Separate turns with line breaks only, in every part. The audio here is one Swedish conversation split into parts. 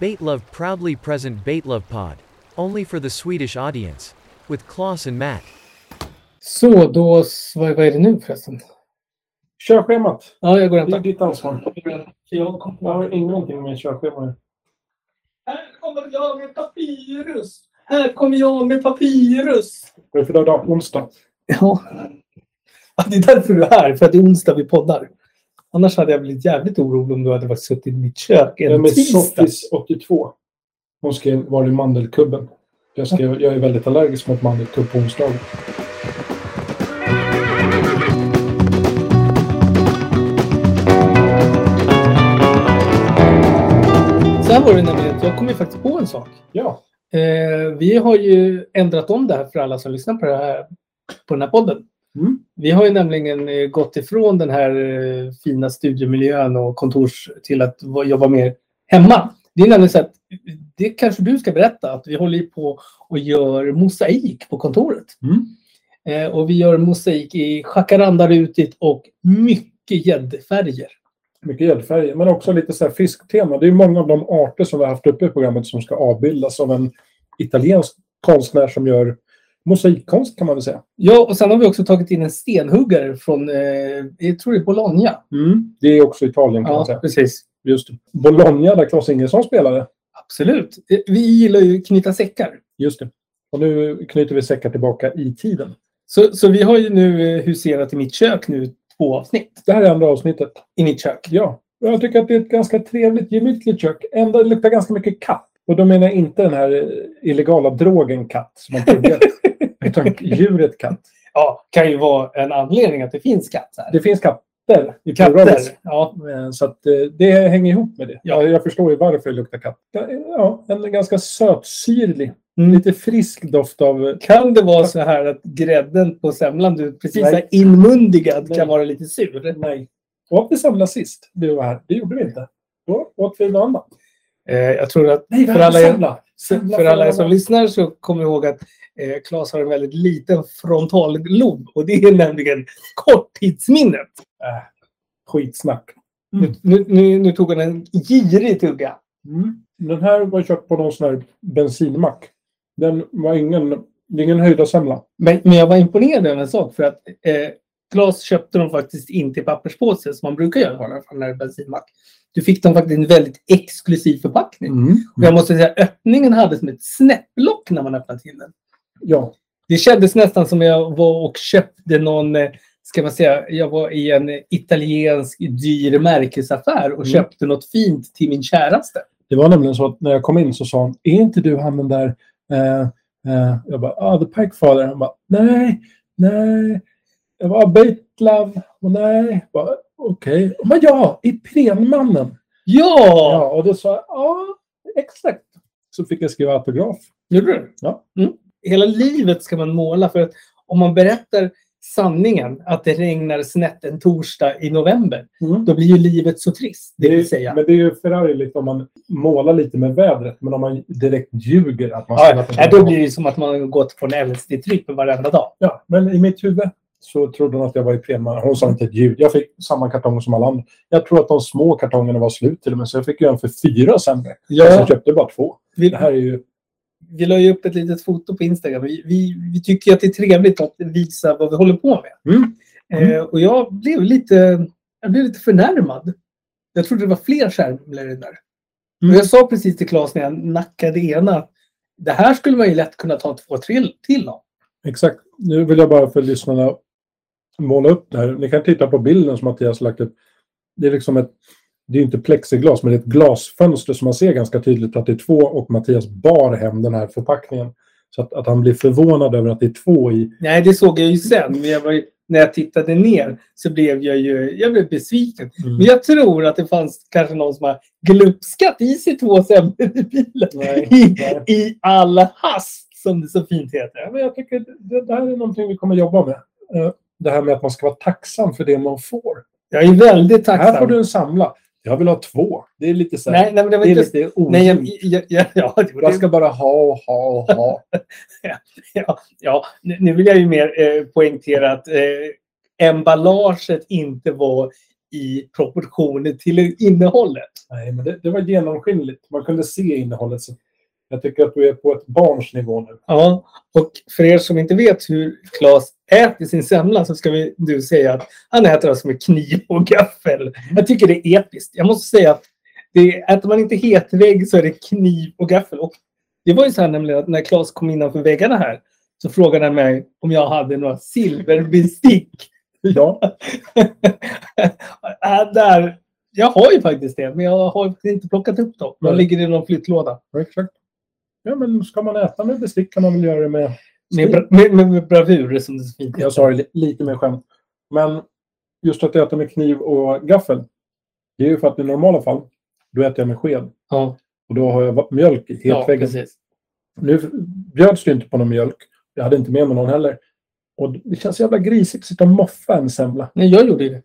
Baitlove proudly present Baitlove Pod. Only for the Swedish audience. With Klaus and Matt.
Så, då, s- vad, vad är det nu förresten?
Körschemat.
Ja, jag går och
Det är
hämtar.
ditt ansvar. Jag har ingenting med körschema
Här kommer jag med papyrus. Här kommer jag med papyrus.
Vad är det för dag idag? Onsdag.
Ja. Ja, Det är därför du är här, för att det är onsdag vi poddar. Annars hade jag blivit jävligt orolig om du hade varit suttit i mitt kök en
Jag är med
tisdag.
Softis82. Hon skrev Var är mandelkubben? Jag, skrev, jag är väldigt allergisk mot mandelkubb på onsdagar.
Så här var det nämligen, att jag kom ju faktiskt på en sak.
Ja,
Eh, vi har ju ändrat om det här för alla som lyssnar på, det här, på den här podden.
Mm.
Vi har ju nämligen eh, gått ifrån den här eh, fina studiemiljön och kontors till att va- jobba mer hemma. Det är nämligen så att, det kanske du ska berätta, att vi håller ju på och gör mosaik på kontoret.
Mm.
Eh, och vi gör mosaik i jacarandarutigt och mycket gäddfärger.
mycket gäddfärger. Men också lite så här fisktema. Det är många av de arter som vi har haft uppe i programmet som ska avbildas av en italiensk konstnär som gör mosaikkonst kan man väl säga.
Ja, och sen har vi också tagit in en stenhuggare från, eh, jag tror det är Bologna.
Det är också Italien kan
Mm.
man
Ja,
säga.
precis.
Just det. Bologna där Claes Ingesson spelade.
Absolut. Eh, Vi gillar ju knyta säckar.
Just det. Och nu knyter vi säkert tillbaka i tiden.
Så, så vi har ju nu eh, huserat i mitt kök nu två avsnitt.
Det här är andra avsnittet.
I mitt kök.
Ja, och jag tycker att det är ett ganska trevligt, gemytligt kök. Ändå luktar ganska mycket katt. Och då menar jag inte den här eh, illegala drogen katt som man pluggar. utan djuret katt.
Ja, kan ju vara en anledning att det finns katt här.
Det finns katter i pluralis.
Katter. Ja.
Eh, Så att eh, det hänger ihop med det.
Ja.
Ja. Jag förstår ju varför det luktar katt. Ja, eh, Ja, en ganska sötsyrlig,
Mm.
lite frisk doft av... eh,
Kan det vara så här att grädden på semlan du precis
Nej.
har inmundigat
Nej.
kan vara lite sur?
Nej. Åt vi semla sist vi var här? Det gjorde vi inte. Då åt vi något annat.
Eh, jag tror att
Nej,
vi För hade alla er-
semla.
för alla er som lyssnar så kom ihåg att eh, Claes har en väldigt liten frontallob och det är nämligen korttidsminnet.
Äh, Skitsnack. Mm.
Nu, nu, nu tog han en girig tugga.
Mm. Den här var köpt på någon sån här bensinmack. Den var ingen, det är ingen höjda semla.
Men, men jag var imponerad över en sak för att eh, glas köpte de faktiskt inte i papperspåse som man brukar göra när man är bensinmack. Du fick dem faktiskt i en väldigt exklusiv förpackning.
Mm.
Och jag måste säga öppningen hade som ett snäpplock när man öppnade till den.
Ja,
Det kändes nästan som jag var och köpte någon, eh, ska man säga, jag var i en eh, italiensk dyr märkesaffär och
Mm.
köpte något fint till min käraste.
det var nämligen så att när jag kom in så sa han, är inte du han den där... Eh, eh, jag bara, ah, the Pike Father. Han bara, nej, nej. Jag bara, "Ah, Baitlove. Och nej. Jag bara, Okej. Okay. Men ja, i Prenmannen.
Ja!
Ja, och då sa jag, ja, exakt. Så fick jag skriva autograf.
Gjorde du?
Ja.
Mm. Hela livet ska man måla för att om man berättar sanningen att det regnar snett en torsdag i november, då blir ju livet så trist. Det
är-
vill säga.
Men det är ju förargligt om man målar lite med vädret, men om man direkt ljuger att man
Ja, ja, då blir det som att man har gått på en LSD-tripp varenda dag.
Ja, men i mitt huvud så trodde hon att jag var i Prema. Hon sa inte ett ljud. Jag fick samma kartong som alla andra. Jag tror att de små kartongerna var slut till och med, så jag fick ju en för fyra sen. Ja. Så jag köpte bara två.
Vi,
Det här är ju...
vi la ju upp ett litet foto på Instagram. Vi, vi, vi tycker ju att det är trevligt att visa vad vi håller på med.
Mm. Mm.
Eh, och jag blev, lite, jag blev lite förnärmad. Jag trodde det var fler skärmar i det där.
Mm.
Och jag sa precis till Claes när jag nackade ena att det här skulle man ju lätt kunna ta två, tre till av.
Exakt. Nu vill jag bara för lyssnarna måla upp det här. Ni kan titta på bilden som Mattias lagt upp. Det är liksom ett... Det är inte plexiglas, men det är ett glasfönster som man ser ganska tydligt att det är två och Mattias bar hem den här förpackningen. Så att, att han blir förvånad över att det är två i.
Nej, det såg jag ju sen. Men jag var ju, när jag tittade ner så blev jag ju jag blev besviken. Men jag tror att det fanns kanske någon som har glupskat i sig två semlor i bilen.
Nej,
I,
nej.
I all hast, som det så fint
Ja,
heter.
men jag tycker det, det här är någonting vi kommer jobba med. Eh, Det här med att man ska vara tacksam för det man får.
Jag är väldigt tacksam.
Här får du en samla. Jag vill ha två. Det är lite så här.
Nej, nej, men det var
det är
inte...
lite orimligt.
Nej, jag, jag, jag, ja, det var
Jag
det.
ska bara ha och ha och ha.
Ja, nu nu vill jag ju mer eh, poängtera att eh, emballaget inte var i proportioner till innehållet.
Nej, men det, det var genomskinligt. Man kunde se innehållet. Så jag tycker att du är på ett barns nivå nu.
Ja, och för er som inte vet hur Claes äter sin semla så ska vi nu säga att han äter alltså med kniv och gaffel. Jag tycker det är episkt. Jag måste säga att det, äter man inte hetvägg så är det kniv och gaffel. Och det var ju så här nämligen att när Claes kom innanför väggarna här så frågade han mig om jag hade några silverbestick.
Ja,
Äh, där. Jag har ju faktiskt det, men jag har inte plockat upp dem. De
Nej.
ligger i någon flyttlåda.
exakt. Ja, men ska man äta med bestick kan man väl göra det med...
Med, bra, med, med, med bravur som det så fint
Jag sa det li- lite med skämt. Men just att äta med kniv och gaffel. Det är ju för att i normala fall, då äter jag med sked.
Ja,
Och då har jag va- mjölk i
ja
hetväggen.
precis.
nu f- bjöds det ju inte på någon mjölk. Jag hade inte med mig någon heller. Och det känns jävla grisigt att sitta och moffa en semla.
Nej, jag gjorde det.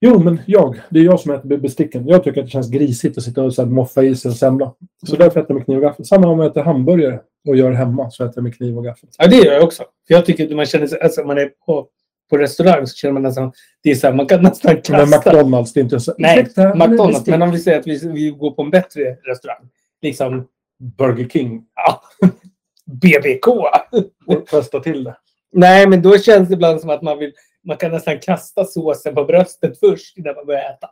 Jo, men jag. Det är jag som äter besticken. Jag tycker att det känns grisigt att sitta och så här moffa i sig en semla. Så
Mm.
därför äter jag med kniv och gaffel. Samma om jag äter hamburgare och gör hemma så äter jag med kniv och gaffel.
Ja, det gör jag också. För jag tycker att man känner sig, alltså man är på, på restaurang så känner man nästan, det är så här, man kan nästan
Men
kasta.
McDonalds, det är inte så...
Nej,
Ursäkta, men
McDonalds.
bestick.
Men om vi säger att vi, vi går på en bättre restaurang. Liksom
Burger King.
BBK.
Och Fästa till det.
Nej, men då känns det ibland som att man vill, man kan nästan kasta såsen på bröstet först innan man börjar äta.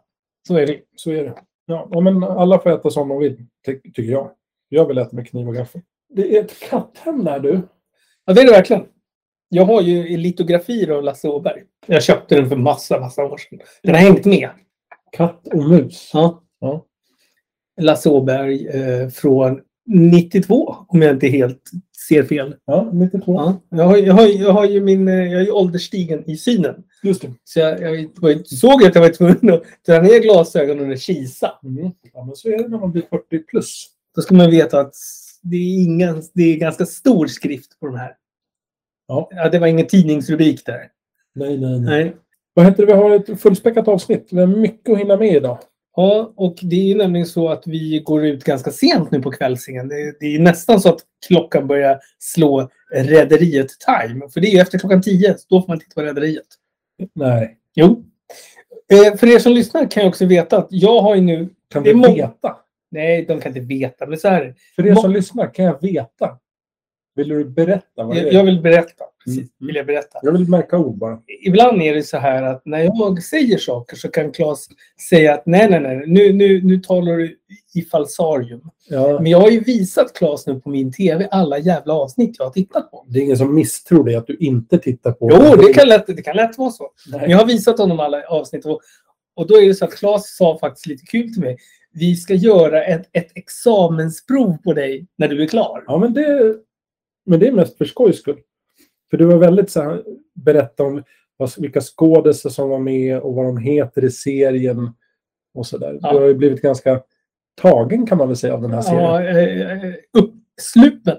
Så är det.
Så är det. Ja, ja, men alla får äta som de vill, ty- tycker jag. Jag vill äta med kniv och gaffel. Det är ett katthem där du.
Ja, det är det verkligen. Jag har ju litografier av Lasse Åberg. Jag köpte den för massa, massa år sedan. Den har hängt med.
Katt och mus.
Ja.
Ja.
Lasse Åberg eh, från 92, om jag inte helt ser fel.
Ja, 92.
Ja. Jag, har, jag, har, jag, har ju min, eh, jag är ju ålderstigen i synen.
Just det.
Så jag, jag var ju- såg att jag var tvungen att dra ner glasögonen och kisa.
Mm. Ja, men så är det när man blir 40 plus.
Då ska man veta att det är, ingen, det är ganska stor skrift på de här.
Ja. Mm.
det var ingen tidningsrubrik där.
Nej, nej,
Nej.
Vad heter det? Vi har ett fullspäckat avsnitt. Vi har mycket att hinna med idag.
Ja, och det är ju nämligen så att vi går ut ganska sent nu på kvällsingen. Det, det är nästan så att klockan börjar slå Rederiet time. För det är ju efter klockan 10, så då får man titta på Rederiet.
Nej.
Jo. Eh, för er som lyssnar kan jag också veta att jag har ju nu...
Kan
Det är
vi
många-
veta?
Nej, de kan inte veta, men så här är det.
För er
Må-
som lyssnar, kan jag veta? Vill du berätta vad det
jag,
är?
jag vill berätta. Precis,
Mm.
vill jag berätta.
Jag vill märka ord bara.
ibland är det så här att när jag säger saker så kan Claes säga att nej, nej, nej, nu, nu, nu talar du i falsarium.
Ja.
Men jag har ju visat Claes nu på min tv alla jävla avsnitt jag har tittat på.
Det är ingen som misstror dig att du inte tittar på...
Jo, det kan lätt, det kan lätt vara så. Men
Nej.
jag har visat honom alla avsnitt och, och då är det så att Claes sa faktiskt lite kul till mig. Vi ska göra ett, ett examensprov på dig när du är klar.
Ja, men det, men det är mest för skojs skull. För du var väldigt så här, berätta om vad, vilka skådisar som var med och vad de heter i serien och så där.
Ja.
Du har ju blivit ganska tagen kan man väl säga av den här serien.
Ja, eh, eh, uppslupen.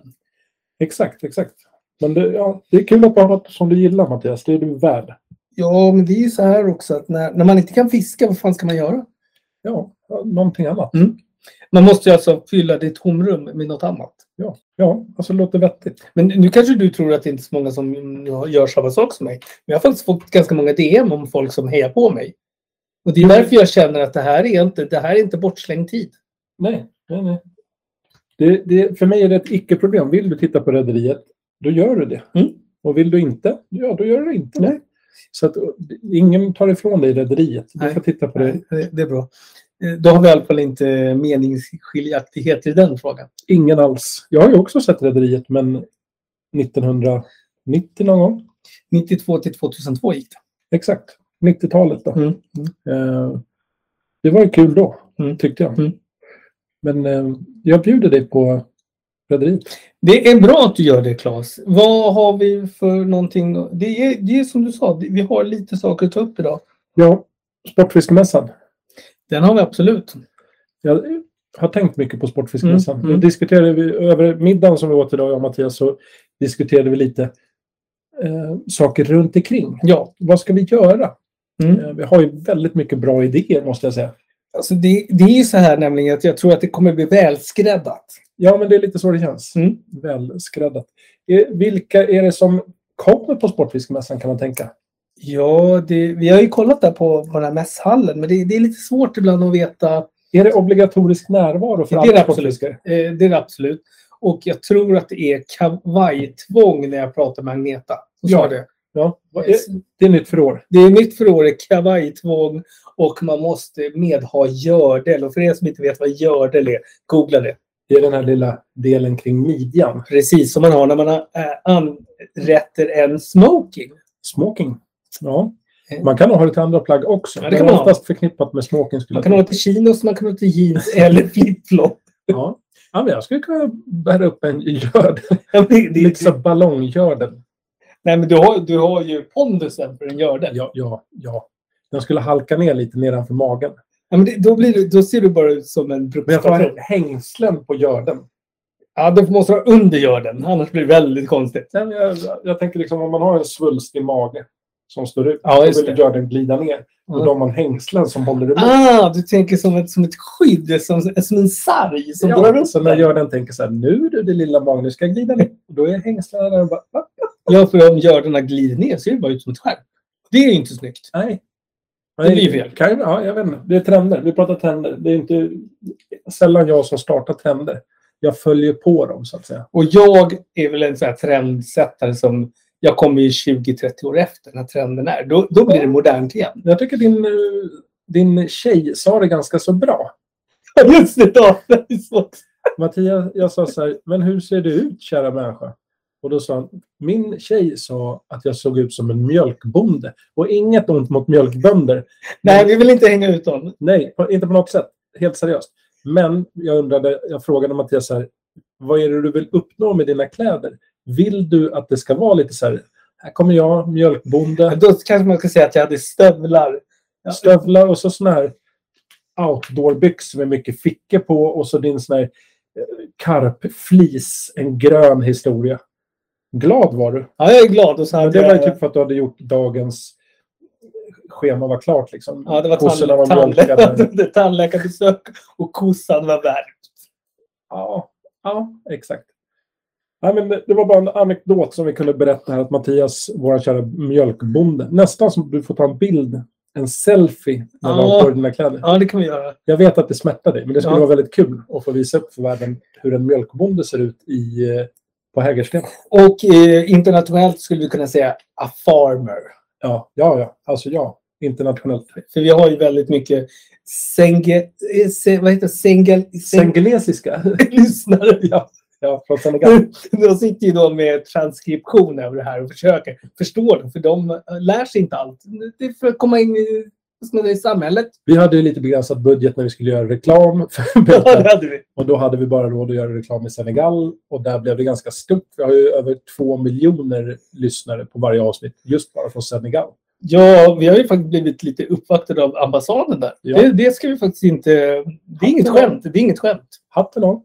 Exakt, exakt. Men det, ja, det är kul att du har något som du gillar Mattias. Det är du värd.
Ja, men det är ju så här också att när, när man inte kan fiska, vad fan ska man göra?
Ja, ja, någonting annat.
Mm. Man måste ju alltså fylla det tomrum med något annat.
Ja, alltså det låter vettigt.
Men nu kanske du tror att det är inte är så många som gör samma sak som mig. Men jag har faktiskt fått ganska många DM om folk som hejar på mig. Och det är därför jag känner att det här är inte, det här är inte bortslängd tid.
Nej, nej, nej. Det, det, för mig är det ett icke-problem. Vill du titta på Rederiet, då gör du det.
Mm.
Och vill du inte, ja då gör du inte det.
Nej.
Så att och, det- ingen tar ifrån dig Rederiet. Du
Nej.
får titta på det.
Det, det är bra. Eh, Då har vi i alla fall inte meningsskiljaktigheter i den frågan.
Ingen alls. Jag har ju också sett Rederiet, men 1990 någon gång.
92 till 2002 gick det.
Exakt. 90-talet då.
Mm.
Eh, det var ju kul då,
Mm.
tyckte jag.
Mm.
Men eh, jag bjuder dig på Rederiet.
Det är bra att du gör det, Claes. Vad har vi för någonting? Det är, det är som du sa, vi har lite saker att ta upp idag.
Ja, Sportfiskemässan.
Den har vi absolut.
Jag har tänkt mycket på Sportfiskemässan.
Mm, mm.
Vi diskuterade vi, över middagen som vi åt idag, jag och Mattias, så diskuterade vi lite eh, saker runt omkring.
Ja.
Vad ska vi göra?
Mm.
Eh, vi har ju väldigt mycket bra idéer, måste jag säga.
Alltså det, det är ju så här nämligen att jag tror att det kommer bli välskräddat.
Ja, men det är lite så det känns.
Mm.
Välskräddat. Eh, vilka är det som kommer på Sportfiskemässan, kan man tänka?
Ja, det, vi har ju kollat där på, på den här mässhallen, men det, det är lite svårt ibland att veta.
Är det obligatorisk närvaro för
Det är
alla
det absolut.
sportfiskare?
Eh, det är det absolut. Och jag tror att det är kavajtvång när jag pratar med Agneta. Hon
Ja.
sa det.
Ja, vad är- det är nytt för år.
Det är nytt för året, kavajtvång och man måste medha gördel. Och för er som inte vet vad gördel är, googla det.
Det är den här lilla delen kring midjan.
Precis som man har när man har, eh, anrätter en smoking.
Smoking. Ja. Man kan nog ha det till andra plagg också.
Eh. Ja, det
det
kan
är
man ha.
oftast förknippat med smoking. Skulle
Man
jag
kan
säga.
ha det till chinos, man kan ha det till jeans eller flip-flop.
Ja. Ja, men jag skulle kunna bära upp en gördel.
Ja, men det- det-
Liksom ballonggördel.
Nej, men du har, du har ju pondusen för en gördel.
Ja, ja, ja. Den skulle halka ner lite nedanför magen.
Ja, men det, då, blir du, då ser du bara ut som en
Men jag får ha
bruksperson.
hängslen på görden.
Ja, du måste du ha under gördeln, annars blir det väldigt konstigt.
Nej, men jag, jag tänker liksom om man har en svulstig mage som står ut.
Ja, just
då
det. Mm.
vill görden glida ner. Och då har man hängslen som håller emot.
Ah, du tänker som ett, som ett skydd, som, som en sarg som drar
ja,
upp
så när
den.
görden tänker så här, nu du det lilla magen, nu ska jag glida ner. Och då är hängslena där och bara, va?
Ja, för om gördarna glider ner ser det bara ut som ett skärp. Det är ju inte snyggt.
Nej.
Det blir fel.
Kan, ju- ja, jag vet inte. Det är trender. Vi pratar trender. Det är inte sällan jag som startar trender. Jag följer på dem, så att säga.
Och jag är väl en sån här trendsättare som jag kommer ju 20-30 år efter när trenden är. Då, då blir det modernt igen.
Jag tycker din, eh, din tjej sa det ganska så bra.
Ja, Just det, ja. Det är så.
Mattias, jag sa så här, men hur ser du ut kära människa? Och då sa han, min tjej sa att jag såg ut som en mjölkbonde. Och inget ont mot mjölkbönder.
Nej, vi vill inte hänga ut dem.
Nej, på, inte på något sätt. Helt seriöst. Men jag undrade, jag frågade Mattias så här, vad är det du vill uppnå med dina kläder? Vill du att det ska vara lite så här, här kommer jag, mjölkbonde,
Då kanske man ska säga att jag hade stövlar.
stövlar och så sån här outdoorbyxor med mycket fickor på och så din sån här eh, karpflis, en grön historia. Glad var du.
Ja, jag är glad. Och så
Men
hade
det var ju
jag...
typ för att du hade gjort dagens schema var klart liksom.
Ja, det var
Kossorna var
tand, tand,
mjölkade.
det var tandläkarbesök och kossan var värd.
Ja, ja exakt. Nej, men det det var bara en anekdot som vi kunde berätta här att Mattias, vår kära mjölkbonde, nästan som du får ta en bild, en selfie när du
Ja.
har på dig dina kläder.
Ja, det kan vi göra.
Jag vet att det smärtar dig, men det skulle
Ja.
vara väldigt kul att få visa upp för världen hur en mjölkbonde ser ut i, eh, på Hägersten.
Och eh, internationellt skulle vi kunna säga a farmer.
Ja, ja, ja. Alltså ja, internationellt.
För vi har ju väldigt mycket senge, eh, se, vad heter det? sengel, seng,
Sengelesiska.
lyssnare.
ja, ja, från Senegal.
De- De sitter ju då med transkription över det här och försöker förstå det. För de eh, lär sig inte allt. Det är för att komma in i, vad ska man säga, i samhället.
Vi hade ju lite begränsad budget när vi skulle göra reklam för
Ja,
bälten.
det hade vi.
Och då hade vi bara råd att göra reklam i Senegal och där blev det ganska stort. Vi har ju över två miljoner lyssnare på varje avsnitt just bara från Senegal.
Ja, vi har ju faktiskt blivit lite uppvaktade av ambassaden där.
Ja.
Det, det ska vi faktiskt inte... Det är inget skämt. Det är inget skämt.
Hatten av!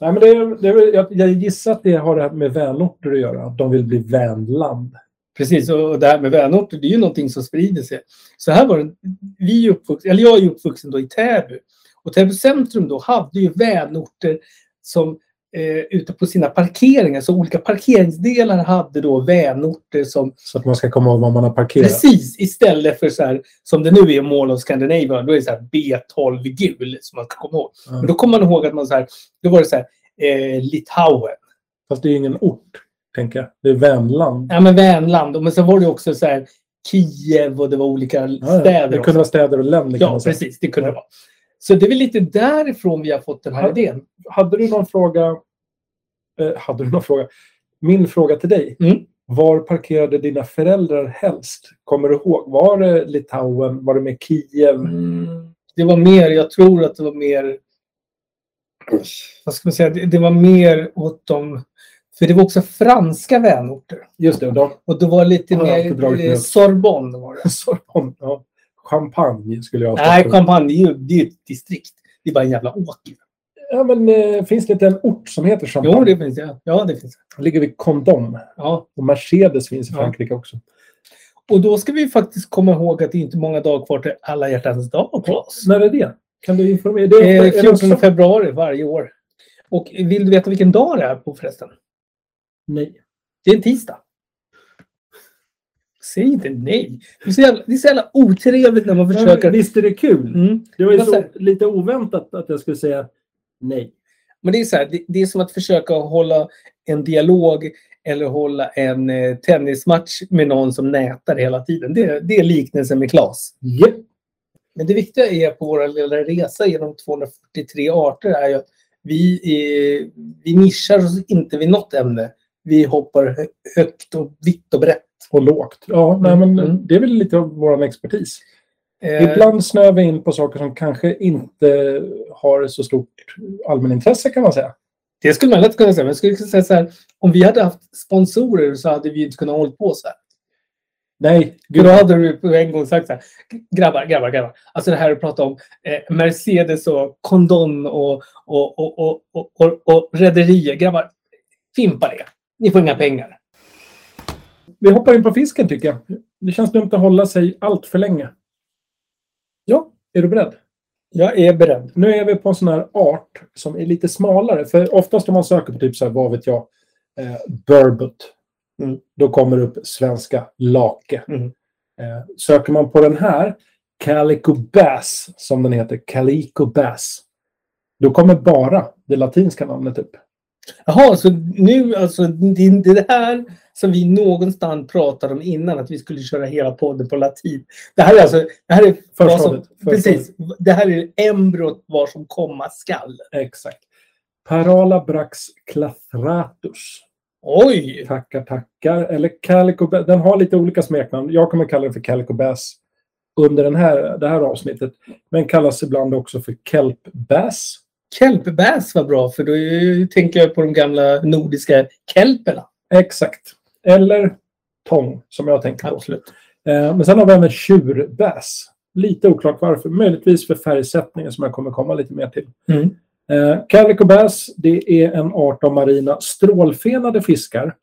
Nej, men det, är- det, är väl- jag, jag gissar att det har det här med vänorter att göra. Att de vill bli vänland.
Precis, och det här med vänorter, det är ju någonting som sprider sig. Så här var det, vi är uppvuxen, eller jag är uppvuxen då i Täby. Och Täby centrum då hade ju vänorter som eh, ute på sina parkeringar, så olika parkeringsdelar hade då vänorter som
Så att man ska komma ihåg var man har parkerat.
precis istället för så här som det nu är i Mall of Scandinavia, då är det så här B12 gul som man ska komma ihåg.
Ja.
Men då kommer man ihåg att man så här, då var det så här eh, Litauen.
Fast det är ingen ort, tänker jag. Det är vänland.
Ja men Vänland, men sen var det också så här Kiev och det var olika
Ja,
städer.
det
också.
kunde vara städer och länder. kan
Ja,
man säga.
precis. Det kunde
Ja.
det vara. Så det är väl lite därifrån vi har fått den här
Ja.
idén.
Hade du någon fråga? Eh, hade du någon fråga? Min fråga till dig.
Mm.
Var parkerade dina föräldrar helst? Kommer du ihåg? Var det Litauen? Var det med Kiev?
Mm. Det var mer, jag tror att det var mer... Vad ska man säga? Det, det var mer åt dem... För det var också franska vänorter.
Just det, och de.
Och det var lite
Ja, jag har inte
mer
dragit
eh,
med.
Sorbonne var det.
Sorbonne, ja. Champagne skulle jag ha
Nej,
sagt.
Champagne det är ju det är ju ett distrikt. Det är bara en jävla åker.
ja, men, eh, Finns det inte en ort som heter Champagne?
Jo, det finns det. Ja, det finns det.
ligger vid Condom.
Ja.
Och Mercedes finns i
Ja.
Frankrike också.
Och då ska vi faktiskt komma ihåg att det är inte många dagar kvar till alla hjärtans dag, Claes.
När är det? Kan du informera? Det är,
Eh,
är det också-
14 februari varje år. Och vill du veta vilken dag det är på förresten?
Nej.
Det är en tisdag. Säg inte nej. Det är så jävla, det är så jävla otrevligt när man försöker.
Men Visst är det kul?
Mm.
Det var ju
Men
så
sen-
lite oväntat att jag skulle säga nej.
Men det är så här, det, det är som att försöka hålla en dialog eller hålla en eh, tennismatch med någon som nätar hela tiden. Det, det är liknelsen med Klas.
Japp.
Men det viktiga är på vår lilla resa genom 243 arter är ju att vi, eh, vi nischar oss inte vid något ämne. Vi hoppar hö- högt och vitt och brett.
Och lågt. Ja, nej, men
Mm.
det är väl lite av vår expertis.
Eh,
Ibland snöar vi in på saker som kanske inte har så stort allmänintresse kan man säga.
Det skulle man lätt kunna säga. Men jag skulle kunna säga så här, om vi hade haft sponsorer så hade vi inte kunnat hålla på så här.
Nej,
Gud, då hade du på en gång sagt så här. Grabbar, grabbar, grabbar. Alltså det här att prata om eh, Mercedes och kondon och, och, och, och, och, och, och rederier. Grabbar, fimpa det. Ni får inga pengar.
vi hoppar in på fisken tycker jag. Det känns dumt att hålla sig allt för länge. Ja, är du beredd?
Jag är beredd.
Nu är vi på en sån här art som är lite smalare. För oftast om man söker på typ så här, vad vet jag, eh, burbot.
Mm.
Då kommer det upp svenska lake.
Mm.
Eh, söker man på den här, calico bass, som den heter, calico bass. Då kommer bara det latinska namnet upp.
Jaha, så nu alltså, det, det här som vi någonstans pratade om innan, att vi skulle köra hela podden på latin. Det här är alltså... Det här är vad som,
Förstadiet, förstadiet.
precis. Det här är embryot var som komma skall.
Exakt. Paralabrax clathratus.
Oj!
Tackar, tackar. Eller Calico Bass. Den har lite olika smeknamn. Jag kommer kalla den för Calico Bass under den här, det här avsnittet. Men kallas ibland också för Kelp Bass.
Kelpbäs var bra, för då är- tänker jag på de gamla nordiska kelperna.
Exakt. Eller tång, som jag tänker på.
Absolut.
Eh, men sen har vi även tjurbass. Lite oklart varför. Möjligtvis för färgsättningen som jag kommer komma lite mer till.
Mm.
Eh, Calico bass, det är en art av marina strålfenade fiskar.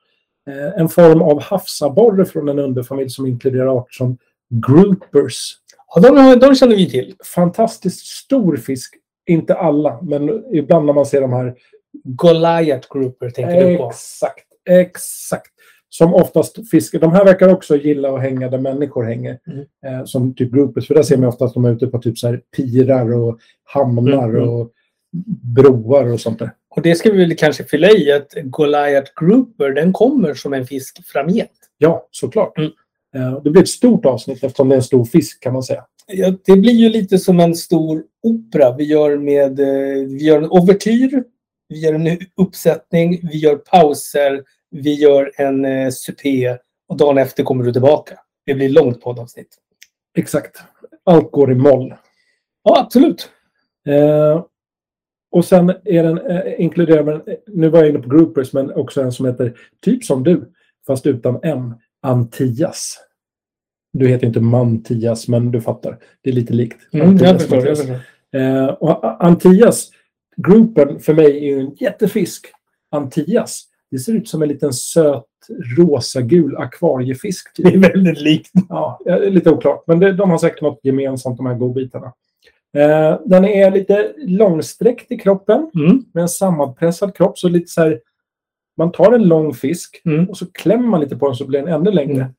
Eh, en form av havsabborre från en underfamilj som inkluderar arter som groupers,
Ja, de, de känner vi till.
fantastiskt stor fisk. Inte alla, men ibland när man ser de här.
Goliath Grouper tänker du på.
Exakt, exakt. Som oftast fiskar. De här verkar också gilla att hänga där människor hänger.
Mm.
Eh, som typ groupers. För där ser man ofta att de är ute på typ så här pirar och hamnar
Mm, mm.
och broar och sånt där.
Och det ska vi väl kanske fylla i att Goliath Grouper, den kommer som en fisk framgent.
Ja, såklart.
Mm.
Eh, det blir ett stort avsnitt eftersom det är en stor fisk kan man säga.
Ja, det blir ju lite som en stor opera. Vi gör, med, eh, vi gör en ouvertyr, vi gör en uppsättning, vi gör pauser, vi gör en eh, supé och dagen efter kommer du tillbaka. Det blir långt poddavsnitt.
Exakt. Allt går i moll.
Ja, absolut.
Eh, och sen är den, eh, inkluderar man, eh, nu var jag inne på groupers, men också en som heter typ som du, fast utan M, Antias. Du heter inte Mantias, men du fattar. Det är lite likt.
Mm, jag
Antias,
förstår. Jag
Mattias.
förstår.
Eh, och A- Antias, groupen för mig är ju en jättefisk. Antias, det ser ut som en liten söt rosagul akvariefisk. Typ.
Det är väldigt likt.
Ja, det är lite oklart. Men det, de har säkert något gemensamt, de här godbitarna. Eh, den är lite långsträckt i kroppen,
Mm.
med en sammanpressad kropp. Så lite så här, man tar en lång fisk
Mm.
och så klämmer man lite på den så blir den ännu längre.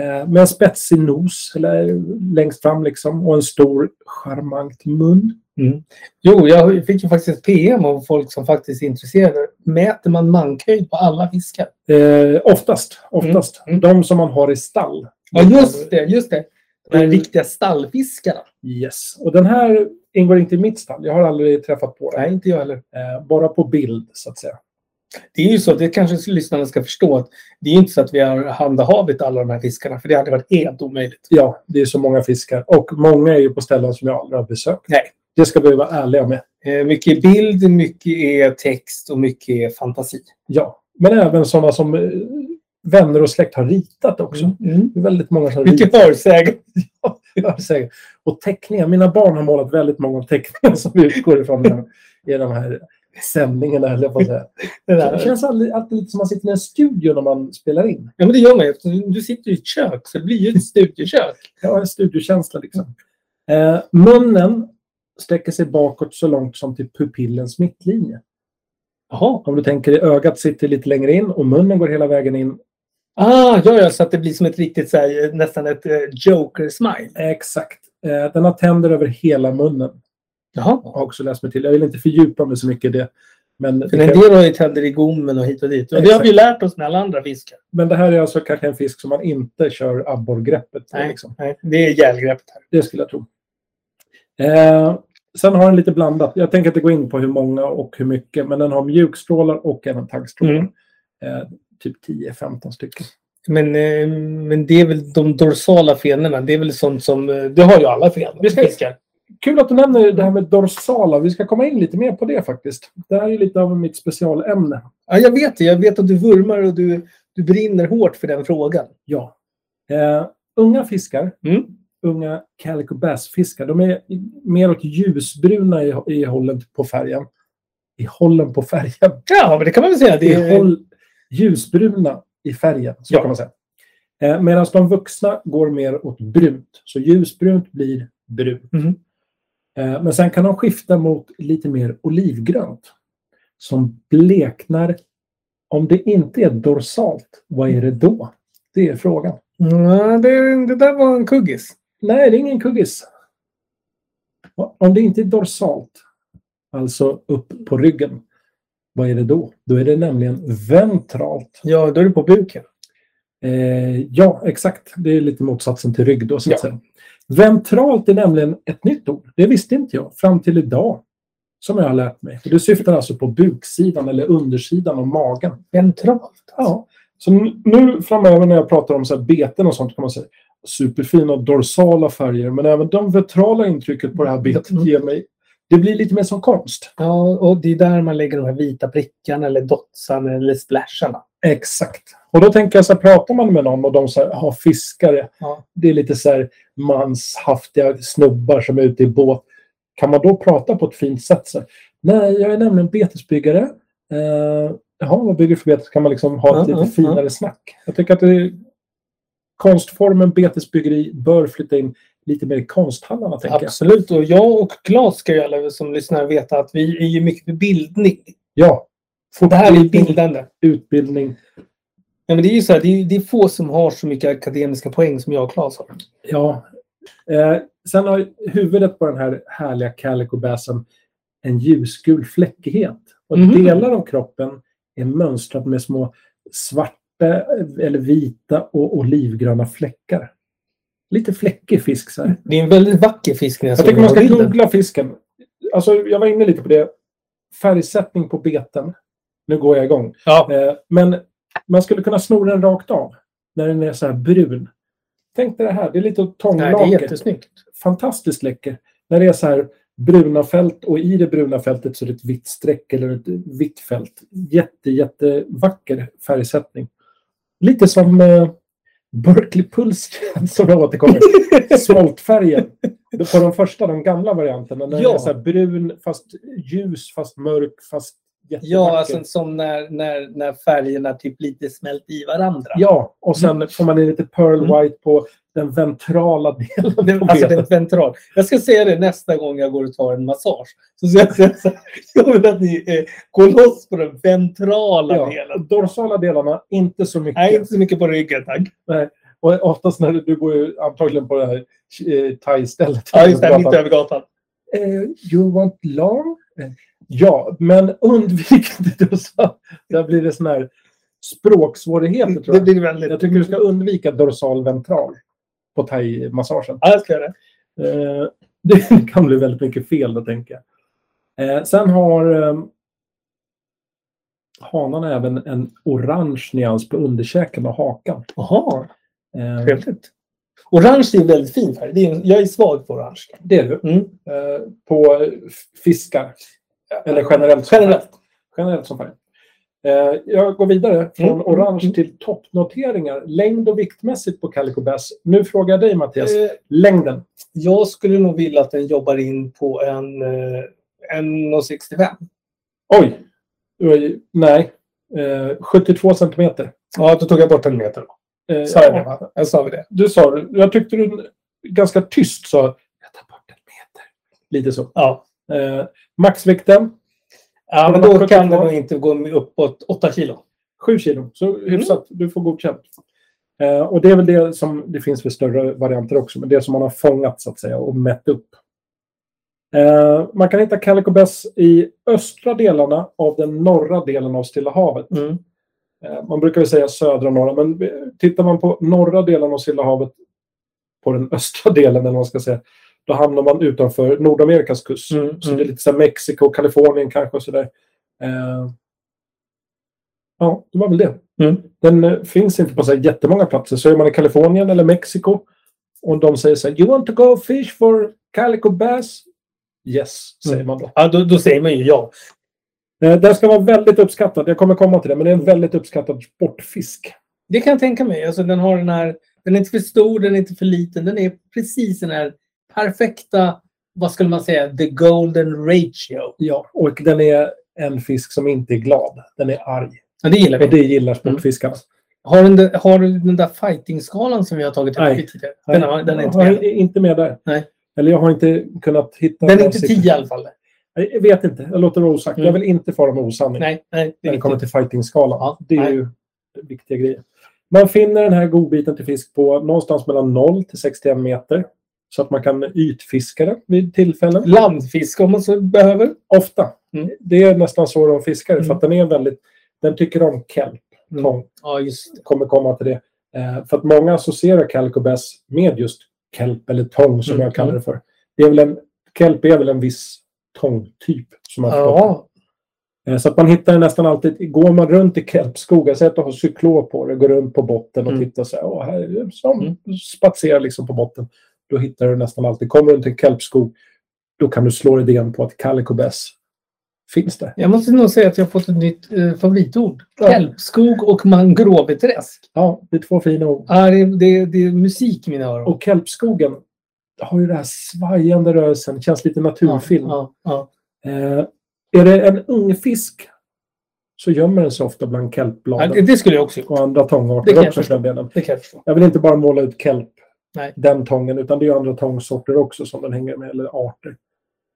Eh, med en spetsig nos eller längst fram liksom, och en stor charmant mun.
Jo, jag fick ju faktiskt ett PM av folk som faktiskt är intresserade. Mäter man mankhöjd på alla fiskar?
Eh, oftast, oftast.
Mm.
De som man har i stall.
Ja, just det. Just det. De här riktiga stallfiskarna.
Yes. Och den här ingår inte i mitt stall. Jag har aldrig träffat på den.
Nej, inte jag heller.
Eh, bara på bild, så att säga.
Det är ju så, det kanske lyssnarna ska förstå, att det är inte så att vi har handhavet alla de här fiskarna, för det hade varit helt omöjligt.
Ja, det är så många fiskar. Och många är ju på ställen som jag aldrig har besökt.
Nej.
Det ska vi vara ärliga med.
Eh, Mycket är bild, mycket är text och mycket är fantasi.
Ja. Men även sådana som eh, vänner och släkt har ritat också.
Mm.
Det är väldigt många som
Mycket
ritar.
förutsägelse.
jag säger. Och teckningar. Mina barn har målat väldigt många teckningar som utgår ifrån den, i de här sändningarna, höll jag på att säga.
Det,
Det
där.
känns aldrig, alltid lite som att man sitter i en studio när man spelar in.
Ja, men det gör man ju. eftersom Du sitter i ett kök, så det blir ju ett studiekök.
Jag har en studiokänsla liksom. Eh, munnen sträcker sig bakåt så långt som till pupillens mittlinje.
Jaha.
Om du tänker i ögat sitter lite längre in och munnen går hela vägen in
Ah, ja, ja, så att det blir som ett riktigt så här, nästan ett eh, joker-smile.
Exakt. Eh, Den har tänder över hela munnen.
Jaha.
Jag har också läst mig till. Jag vill inte fördjupa mig så mycket i det. Men det,
För en
kan,
del har ju tänder i gommen och hit och dit. Och det har vi ju lärt oss med alla andra fiskar.
men det här är alltså kanske en fisk som man inte kör abborrgreppet på.
Nej.
Liksom.
Nej, det är gälgreppet här.
Det skulle jag tro. Eh, sen har den lite blandat. Jag tänker inte gå in på hur många och hur mycket, men den har mjukstrålar och även taggstrålar.
Mm.
Eh, typ 10-15 stycken.
Men, eh, men det är väl de dorsala fenorna. Det är väl sånt som... eh, Det har ju alla fenor.
Vi ska-
fiskar.
Kul att du nämner det här med dorsala. Vi ska komma in lite mer på det faktiskt. Det här är lite av mitt specialämne.
Ja, jag vet det. Jag vet att du vurmar och du, du brinner hårt för den frågan.
Ja. Eh, unga fiskar,
Mm.
unga calico bass-fiskar, de är mer åt ljusbruna i, i hållen på färgen. I hållen på färgen.
Ja, men det kan man väl säga. Det
det
är,
är håll, ljusbruna i färgen. Så
Eh, Ja.
kan man säga. Eh, Medan de vuxna går mer åt brunt. Så ljusbrunt blir brunt.
Mhm.
Eh, men sen kan de skifta mot lite mer olivgrönt. Som bleknar. Om det inte är dorsalt, vad är det då? Det är frågan.
Ja, det, det där var en kuggis.
Nej, det är ingen kuggis. Om det inte är dorsalt, alltså upp på ryggen, vad är det då? Då är det nämligen ventralt.
Ja, då är det på buken.
Eh, ja, exakt. Det är lite motsatsen till rygg då, så att
Ja.
säga. Ventralt är nämligen ett nytt ord. Det visste inte jag fram till idag. Som jag har lärt mig. Och det syftar alltså på buksidan eller undersidan av magen.
Ventralt. alltså. Ja.
Ja. Så n- nu framöver när jag pratar om så här beten och sånt kan man säga superfina dorsala färger. Men även de ventrala intrycket på det här betet
Mm.
ger mig. Det blir lite mer som konst.
ja, och det är där man lägger de här vita prickarna eller dotsarna eller splasharna.
Exakt. Och då tänker jag så här, pratar man med någon och de så här, har fiskare.
Ja.
Det är lite så här manshaftiga snubbar som är ute i båt. Kan man då prata på ett fint sätt? Så här, Nej, jag är nämligen betesbyggare. Eh, jaha, vad bygger du för betes? Kan man liksom ha ett
Ja,
lite
ja,
finare snack. Jag tycker att det, konstformen betesbyggeri bör flytta in lite mer i konsthallarna. Tänker jag.
Absolut. Och jag och Claes ska ju alla som lyssnar veta att vi är ju mycket för bildning.
Ja,
Det här är bildande.
utbildning.
Ja, men det är ju så här, det, är, det är få som har så mycket akademiska poäng som jag och Claes har.
Ja. Eh, sen har huvudet på den här härliga calicobäsen en ljusgul fläckighet. Och
Mhm.
delar av kroppen är mönstrat med små svarta eh, eller vita och olivgröna fläckar. Lite fläckig fisk så här.
Det är en väldigt vacker fisk när jag,
Jag
såg
tycker man
den
ska
här bilden.
googla fisken. Alltså, jag var inne lite på det. Färgsättning på beten. Nu går jag igång.
Ja.
Eh, men man skulle kunna sno den rakt av. När den är så här brun. Tänk dig det här. Det är lite åt
Nej, det är
tånglaket
jättesnyggt.
fantastiskt läcker. När det är så här bruna fält och i det bruna fältet så är det ett vitt streck eller ett vitt fält. Jätte, jättevacker färgsättning. Lite som eh, Berkeley Puls som jag återkommer. Smoltfärgen. På den första, den gamla varianten. När den
Ja.
är så här brun, fast ljus, fast mörk, fast jättevacker.
Ja, alltså som när, när, när färgerna typ lite smält i varandra.
ja, och sen får man in lite pearl white på den ventrala delen. på
Mm. Den, alltså
benet.
den ventral. Jag ska säga det nästa gång jag går och tar en massage. Så ska jag, säga så här, jag vill att ni eh, går loss på den ventrala
Ja, och
delen.
dorsala delarna, inte så mycket.
Nej, inte så mycket på ryggen tack.
Och oftast när du, du går ju antagligen på det här eh, thai-stället.
Ja, just det. Mitt över gatan.
Eh, you want long? Eh, Ja, men undvik det du sa. Där blir det sån här språksvårigheter tror
Det
jag.
blir väldigt...
Jag tycker du ska undvika dorsal ventral på thai-massagen.
Ja, jag ska göra det.
Eh, det kan bli väldigt mycket fel då tänker jag. Eh, sen har eh, hanan även en orange nyans på underkäken och hakan.
Jaha,
Eh,
trevligt. Orange är en väldigt fin färg. Det är, en- jag är svag för orange.
Det är du.
Mm.
Eh, på eh, f- fiskar. Eller generellt.
Generellt.
Generellt som färg. Eh, jag går vidare från
Mm,
orange
mm.
till toppnoteringar. Längd och viktmässigt på Calico Bass. Nu frågar jag dig Mattias.
Eh,
Längden.
Jag skulle nog vilja att den jobbar in på en, eh, en 1,65.
Oj! Oj, nej. Eh, 72 centimeter.
Ja, då tog jag bort en meter. då.
Eh,
Sa jag det? Va? Jag sa väl det.
Du sa det. Jag tyckte du ganska tyst sa jag tar bort en meter. Lite så.
Ja.
Eh, maxvikten.
Ja, men
Men
då
då
kan den
sjutton-
nog inte gå uppåt 8 kilo.
Sju kilo.
Så
Mm.
hyfsat, du får godkänt. Eh, och det är väl det som, det finns väl större varianter också, men det som man har fångat så att säga och mätt upp. Eh, man kan hitta Calico Bass i östra delarna av den norra delen av Stilla havet.
Mm.
Eh, man brukar väl säga södra och norra, men eh, tittar man på norra delen av Stilla havet på den östra delen, eller vad man ska säga, då hamnar man utanför Nordamerikas kust.
Mm,
Så
mm.
det är lite så här Mexiko, Kalifornien kanske och sådär. Eh, ja, det var väl det.
Mm.
Den eh, finns inte på så här jättemånga platser. Så är man i Kalifornien eller Mexiko och de säger så här, you want to go fish for calico bass? Yes, säger
Mm.
man då.
Ja, då, då säger man ju ja.
Eh, Den ska vara väldigt uppskattad. Jag kommer komma till det, men det är en väldigt uppskattad sportfisk.
Det kan jag tänka mig. Alltså, den, har den, här, den är inte för stor, den är inte för liten. Den är precis den här perfekta, vad skulle man säga, the golden ratio.
Ja, och den är en fisk som inte är glad. Den är arg.
Ja, det gillar
Och
vi.
det gillar sportfiskarna.
Har den, där- har du den där fighting-skalan som vi har tagit upp
Nej.
i tidigare? Den, har, den är inte
jag
med.
har inte med där.
Nej.
Eller jag har inte kunnat hitta...
Den är
några
inte
siffror.
10 i alla fall.
Nej, Jag vet inte. Jag låter det vara osagt.
Mm.
Jag vill inte fara med osanning.
Nej, nej. Det
när
är
det kommer
viktigt.
till fighting-skalan.
Ja,
det är
nej.
ju viktiga grejer. Man finner den här godbiten till fisk på någonstans mellan 0 till 61 meter. Så att man kan ytfiska den vid tillfällen.
Landfisk om man så behöver.
Ofta.
Mm.
Det är nästan så de fiskar för
Mm.
att den är väldigt... Den tycker om kelp. Tång.
Ja, just det.
Kommer komma till det. Eh, för att många associerar kalkobass med just kelp eller tång som
Mm.
jag kallar det för. Det är väl en, kelp är väl en viss tångtyp som man får.
Ja.
Eh, Så att man hittar det nästan alltid. Går man runt i kelpskogar, säg att du har cyklop på dig, går runt på botten och
Mm.
tittar så här, åh, här är det som
Mm.
spatserar liksom på botten. Då hittar du nästan alltid. Kommer du till en kelpskog, då kan du slå idén på att calicobass finns där.
Jag måste nog säga att jag har fått ett nytt eh, favoritord.
Ja.
Kelpskog och mangroveträsk.
Ja, det är två fina ord.
Ja, det, det, det är musik i mina öron.
Och kelpskogen har ju den här svajande rörelsen, känns lite naturfilm.
Ja, ja,
Eh, är det en ung fisk så gömmer den sig ofta bland
ja. ja,
kelpbladen
det, det skulle jag också gjort.
och andra
det kan
tångarter
jag
också för den delen.
Det kan jag förstå.
Jag vill inte bara måla ut kelp,
Nej.
den tången, utan det är ju andra tångsorter också som den hänger med, eller arter.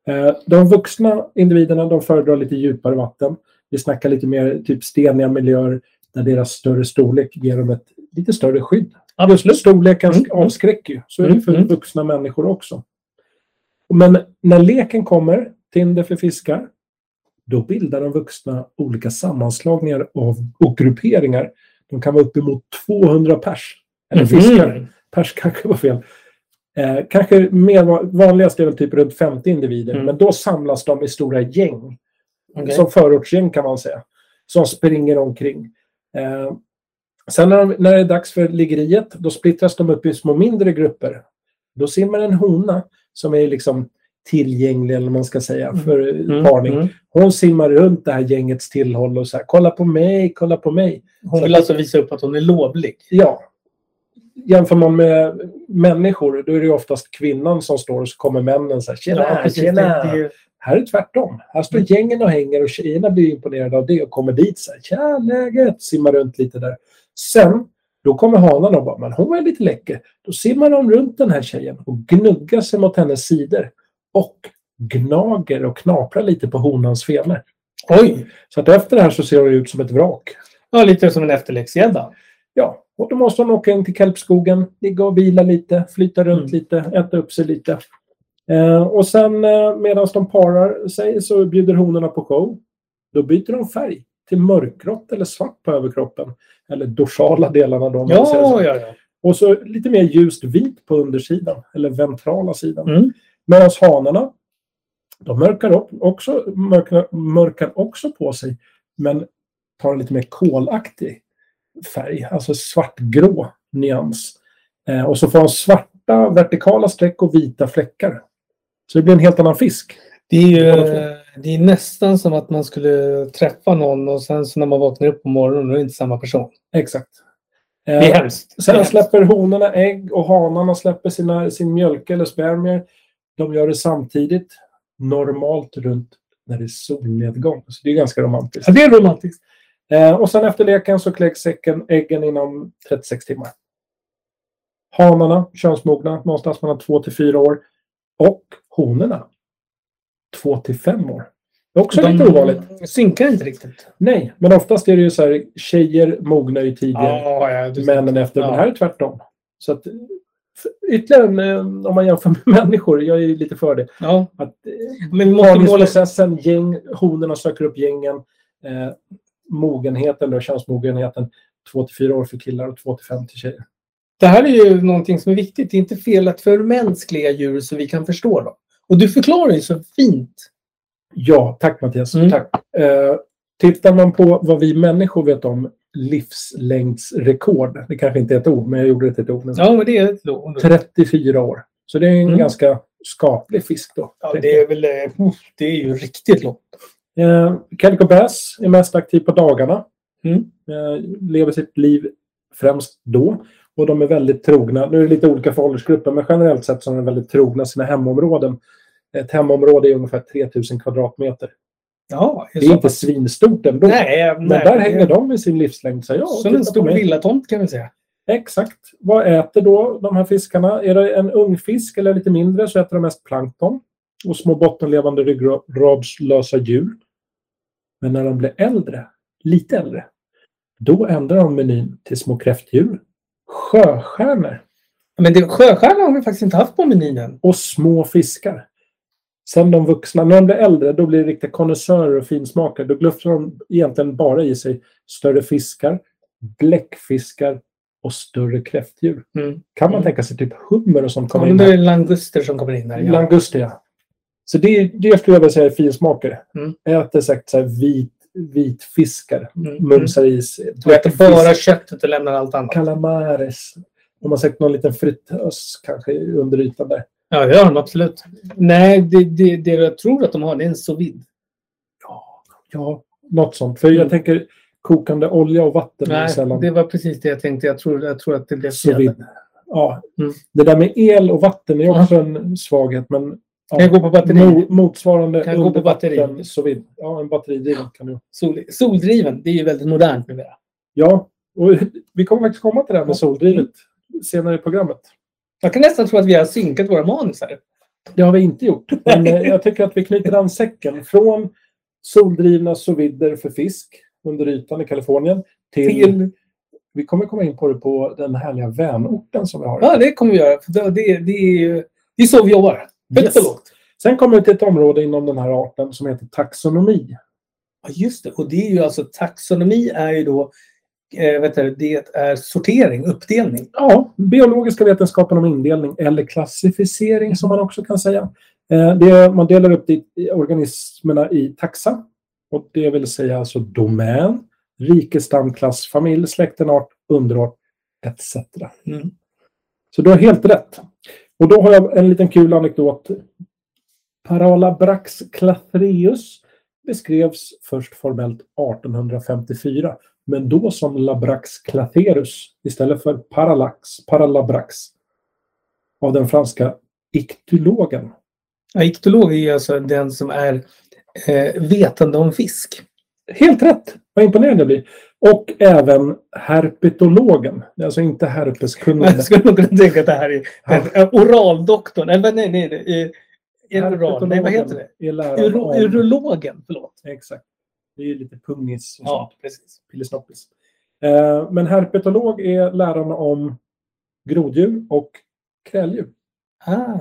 Eh, De vuxna individerna de föredrar lite djupare vatten. Vi snackar lite mer typ steniga miljöer där deras större storlek ger dem ett lite större skydd. Absolut. Storleken
Mm.
avskräcker ju. Så är det
Mm,
för
mm.
vuxna människor också. Men när leken kommer, Tinder för fiskar, då bildar de vuxna olika sammanslagningar av, och grupperingar. De kan vara uppemot 200 pers. Eller fiskar.
Mhm.
Pers kanske var fel. Eh, kanske mer va- vanligast är väl typ runt 50 individer.
Mm.
Men då samlas de i stora gäng.
Okej.
Som förortsgäng kan man säga. Som springer omkring. Eh, sen när, de, när det är dags för liggeriet, då splittras de upp i små mindre grupper. Då simmar en hona som är liksom tillgänglig, eller vad man ska säga, för eh,
Mm,
parning.
mm.
Hon simmar runt det här gängets tillhåll och så här, kolla på mig, kolla på mig.
Hon vill alltså visa upp att hon är lovlig.
Ja. Jämför man med människor, då är det ju oftast kvinnan som står och så kommer männen så här, tjena,
precis.
tjena.
Det- det är ju-
Här är det tvärtom. Här står gängen och hänger och tjejerna blir imponerade av det och kommer dit så här, tja läget, simmar runt lite där. Sen, då kommer hanan och bara, men hon var ju lite läcker. Då simmar de runt den här tjejen och gnuggar sig mot hennes sidor. Och gnager och knaprar lite på honans femer.
Oj!
Så att efter det här så ser hon ut som ett vrak.
Ja, lite som en efterläxgädda.
Ja, och då måste hon åka in till Kelpskogen, ligga och vila lite, flyta runt
Mm.
lite, äta upp sig lite. Eh, och sen eh, medan de parar sig så bjuder honorna på show. Då byter de färg till mörkgrått eller svart på överkroppen. Eller dorsala delarna då. om man säger
Ja,
så.
ja, ja.
Och så lite mer ljust vit på undersidan, eller ventrala sidan.
Mm.
Medan hanarna, de mörkar, upp, också, mörkar, mörkar också på sig, men tar en lite mer kolaktig färg, alltså svartgrå nyans. Eh, och så får de svarta vertikala streck och vita fläckar. Så det blir en helt annan fisk.
Det är ju eh, det är nästan som att man skulle träffa någon och sen så när man vaknar upp på morgonen då är det inte samma person.
Exakt.
Det är hemskt. Det är
Sen
hemskt.
släpper honorna ägg och hanarna släpper sina, sin mjölke eller spermier. De gör det samtidigt, normalt runt när det är solnedgång. Så det är ganska romantiskt.
Ja, det är romantiskt.
Eh, och sen efter leken så kläcks säcken, äggen inom 36 timmar. Hanarna, könsmogna, någonstans mellan 2 till 4 år. Och honorna, 2 till 5 år. Det är också
De
lite ovanligt.
synkar inte riktigt.
Nej, men oftast är det ju så här tjejer mogna i tidigare,
Ja, ja, du-
männen efter.
Ja.
Men här är tvärtom. Så att, f- ytterligare en, eh, om man jämför med människor, jag är ju lite för det.
ja.
Att,
Men vi måste måla...
Mottagningsprocessen, gäng, honorna söker upp gängen. Eh, mogenheten, då, könsmogenheten, 2 till 4 år för killar och 2 till 5 till tjejer.
Det här är ju någonting som är viktigt. Det är inte fel att förmänskliga djur så vi kan förstå dem. Och du förklarar ju så fint.
Ja, tack Mattias.
Mm.
Tack. Eh, tittar man på vad vi människor vet om livslängdsrekord, det kanske inte är ett ord, men jag gjorde det till ett ord. nu.
Ja, men det är ett då.
34 år. Så det är en
Mm.
ganska skaplig fisk då.
Ja, det är väl... eh, uff, Det är ju riktigt långt.
Eh, Calico Bass är mest aktiv på dagarna.
Mm.
Eh, lever sitt liv främst då. Och de är väldigt trogna. Nu är det lite olika för åldersgrupper, men generellt sett så är de väldigt trogna sina hemområden. Ett hemområde är ungefär 3000 kvadratmeter.
Ja,
Det är inte svinstort ändå.
Nej,
men
nej.
där hänger de med sin livslängd. Så ja,
Som
titta på
en stor
mig.
villatomt kan vi säga.
Exakt. Vad äter då de här fiskarna? Är det en ung fisk eller lite mindre så äter de mest plankton och små bottenlevande ryggradslösa djur. Men när de blir äldre, lite äldre, då ändrar de menyn till små kräftdjur, sjöstjärnor
Men det, sjöstjärnan har vi faktiskt inte haft på menyn än.
och små fiskar. Sen de vuxna, när de blir äldre, då blir det riktiga konnässörer och finsmakare. Då glufsar de egentligen bara i sig större fiskar, bläckfiskar och större kräftdjur.
Mm.
Kan man
Mm.
tänka sig typ hummer och sånt
Ja,
komma
men
in
då
här?
är det languster som kommer in här. Ja.
Languster, ja. Så det, det skulle jag vilja säga är finsmakare.
Mm.
Äter säkert så här vit, vit fiskar.
Mm.
Mumsar i sig.
Du äter bara köttet och lämnar allt annat.
Calamares. De har säkert någon liten fritös kanske under ytan där.
Ja, det gör de absolut. Nej, det, det, det jag tror att de har det är en sous vide.
Ja, något sånt. För
Mm.
jag tänker kokande olja och vatten är
Nej,
sällan
det var precis det jag tänkte. Jag tror, jag tror att det blev
så
fel.
vid. Ja.
Mm.
Det där med el och vatten är också en svaghet. Men
Kan jag gå på batteri?
mo- motsvarande
Kan jag gå på batteri?
så vid. Ja, en batteridriven kan du
Sol, soldriven, det är ju väldigt modernt numera.
Ja, och vi kommer faktiskt komma till det här med soldrivet senare i programmet.
Jag kan nästan tro att vi har synkat våra manus här.
Det har vi inte gjort. Men eh, jag tycker att vi knyter an säcken från soldrivna sovider för fisk under ytan i Kalifornien till...
Till-
Vi kommer komma in på det på den härliga vänorten som vi har.
Ja, det kommer vi göra. För det, det, det, är, ju- det är så vi jobbar. Högt
Yes.
och lågt.
Sen kommer vi till ett område inom den här arten som heter taxonomi.
Ja, just det. Och det är ju alltså taxonomi är ju då eh, vet du, det är sortering, uppdelning.
Ja, biologiska vetenskapen om indelning eller klassificering som man också kan säga. Eh, Det är, man delar upp det i organismerna i taxa. Och det vill säga alltså domän, rike, stam, klass, familj, släktenart, underart etc.
Mm.
Så du har helt rätt. Och då har jag en liten kul anekdot. Paralabrax clathreus beskrevs först formellt 1854 men då som Labrax Clatherus istället för Parallax, Parallabrax av den franska iktologen.
Ja, iktolog är ju alltså den som är eh, vetande om fisk.
Helt rätt! Vad imponerande det blir. Och även herpetologen, alltså inte herpeskunniga.
Jag skulle nog kunna tänka att det här är den, eh, oraldoktorn. Eller nej, nej, nej. eh, en Oral, nej, vad heter det?
Är läraren
Uro,
om-
urologen, förlåt.
Exakt. Det är ju lite pungis och sånt.
Ja, precis.
Pillesnoppis. Eh, men herpetolog är lärarna om groddjur och kräldjur.
Ah.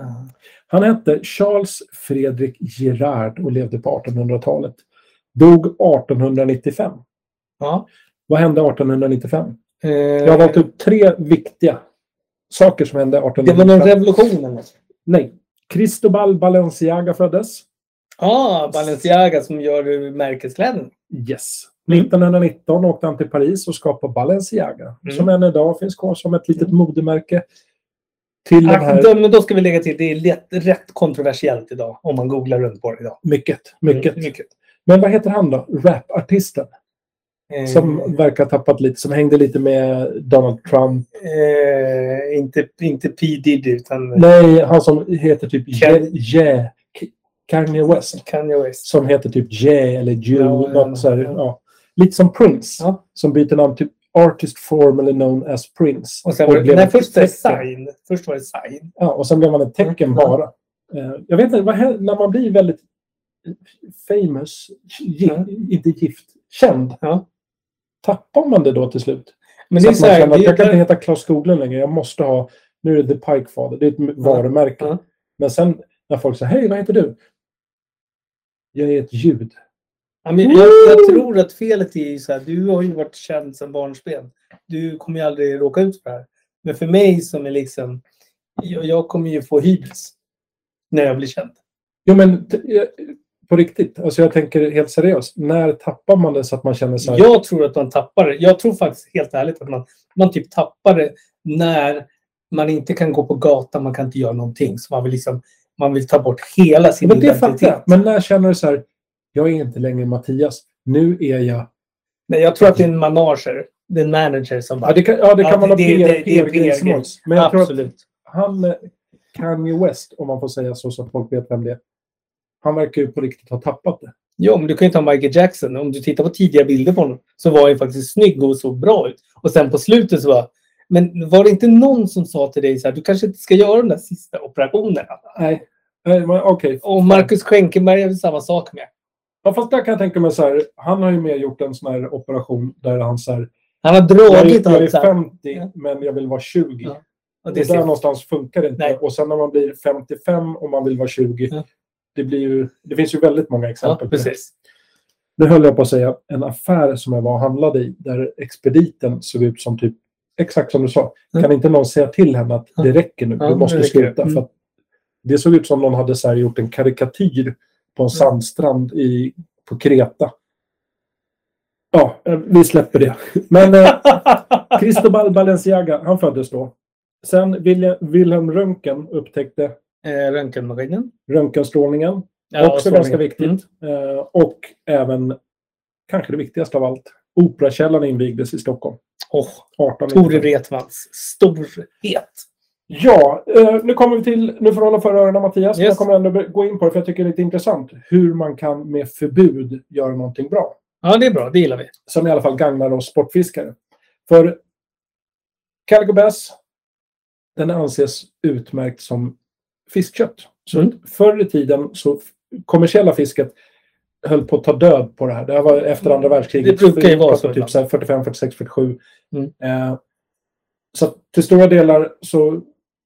Han hette Charles Fredrik Gerard och levde på 1800-talet. Dog 1895.
Ja.
Vad hände 1895?
Eh,
Jag har valt ut tre viktiga saker som hände
det var någon
1895.
revolution eller något.
Nej. Cristobal Balenciaga föddes.
Ja, ah, Balenciaga som gör eh, märkeskläderna.
Yes. 1919 Mm. åkte han till Paris och skapade Balenciaga.
Mm.
Som än idag finns kvar som ett litet modemärke. Till den
Ah,
här...
då, men då ska vi lägga till, det är lätt, rätt kontroversiellt idag om man googlar runt på det idag.
Mycket, mycket.
Mm, mycket.
Men vad heter han då? Rapartisten.
Eh,
Som verkar ha tappat lite. Som hängde lite med Donald Trump.
eh, inte, inte P. Diddy utan eh,
Nej, han som heter typ
Ken-
Ye- Ye- K- Kanye West.
Kanye West.
Som heter typ Ye eller Jew.
Ja, ja,
något så här,
ja.
ja. Lite som Prince.
Ja.
Som byter namn till Artist Formally Known as Prince.
Och sen var det,
blev
nej,
ett
först var det
tecken.
sign. Först var det sign.
Ja, och sen blev man ett tecken
Mm.
bara. Eh, Jag vet inte, vad händer, när man blir väldigt famous, gi-
Ja.
inte gift, känd.
Ja.
Tappar man det då till slut?
Men
så
det är
att
så
man
här,
känner att
det
jag kan inte
är,
heta Klas Skoglund längre. Jag måste ha... Nu är det The Pike Father. Det är ett varumärke.
Ja.
Men sen när folk säger hej, vad heter du? Jag är ett ljud.
ja, men jag, jag tror att felet är ju så här, du har ju varit känd sedan barnsben. Du kommer ju aldrig råka ut för det här. Men för mig som är liksom, jag, jag kommer ju få hybris när jag blir känd.
Jo, men t- jag- på riktigt. Alltså jag tänker helt seriöst. När tappar man det så att man känner så här...
Jag tror att man tappar det. Jag tror faktiskt helt ärligt att man, man typ tappar det när man inte kan gå på gatan, man kan inte göra någonting. Så man vill liksom, man vill ta bort hela sin
men det fattar
identitet.
jag. Men när känner du så här... Jag är inte längre Mattias. Nu är jag...
Nej, jag tror att det är en manager. Det är en manager som bara...
Ja, det kan, ja, det kan
Ja,
man ha
det- det- det är
PR-grej som
PR-grej.
helst. Men jag tror att
Absolut.
han... eh, Kanye West, om man får säga så, så att folk vet vem det är. Han verkar ju på riktigt ha tappat det.
Jo, men du kan ju ta Michael Jackson. Om du tittar på tidiga bilder på honom så var han ju faktiskt snygg och såg bra ut. Och sen på slutet så var... Men var det inte någon som sa till dig så här, du kanske inte ska göra de där sista operationerna?
Nej. Nej, men Okej.
Och Marcus Schenkenberg är väl samma sak med.
Ja, fast där kan jag tänka mig så här. Han har ju mer gjort en sån här operation där han så här.
Han har
Jag
dragit
är, jag
allt så
är
här.
50
Ja.
men jag vill vara 20.
Ja.
Och
Och det
där
ser
någonstans funkar det inte.
Nej.
Och sen när man blir 55 och man vill vara 20.
Ja.
Det, blir ju, det finns ju väldigt många
Ja,
exempel. på det.
precis.
Nu höll jag på att säga en affär som jag var och handlade i där expediten såg ut som typ exakt som du sa.
Mm.
Kan inte någon säga till henne att
Ja.
det räcker nu,
Ja,
du
nu
måste
räcker det.
sluta.
Mm.
För att det såg ut som någon hade så här gjort en karikatyr på
Mm.
en sandstrand i, på Kreta. Ja, eh, vi släpper det. Men eh, Cristobal Balenciaga, han föddes då. Sen Willi- Wilhelm Röntgen upptäckte
Eh, Röntgenmaskinen.
röntgenstrålningen.
Ja,
också
och Mm.
ganska
strålning.
viktigt. Eh, och även, kanske det viktigaste av allt, Operakällaren invigdes i Stockholm.
Och
18
Tore Wretmans storhet.
Ja, eh, nu kommer vi till, nu får du hålla för öronen Mattias. men
Yes.
Jag kommer ändå be- gå in på det för jag tycker det är lite intressant. Hur man kan med förbud göra någonting bra.
Ja, det är bra. Det gillar vi.
Som i alla fall gagnar oss sportfiskare. För Calico Bass, den anses utmärkt som fiskkött. Så
Mm.
förr i tiden så f- kommersiella fisket höll på att ta död på det här. Det här var efter andra världskriget.
Mm. Det brukar ju vara
Pratar
så
Typ
ibland.
så här 45, 46, 47.
Mm.
Eh, så att till stora delar så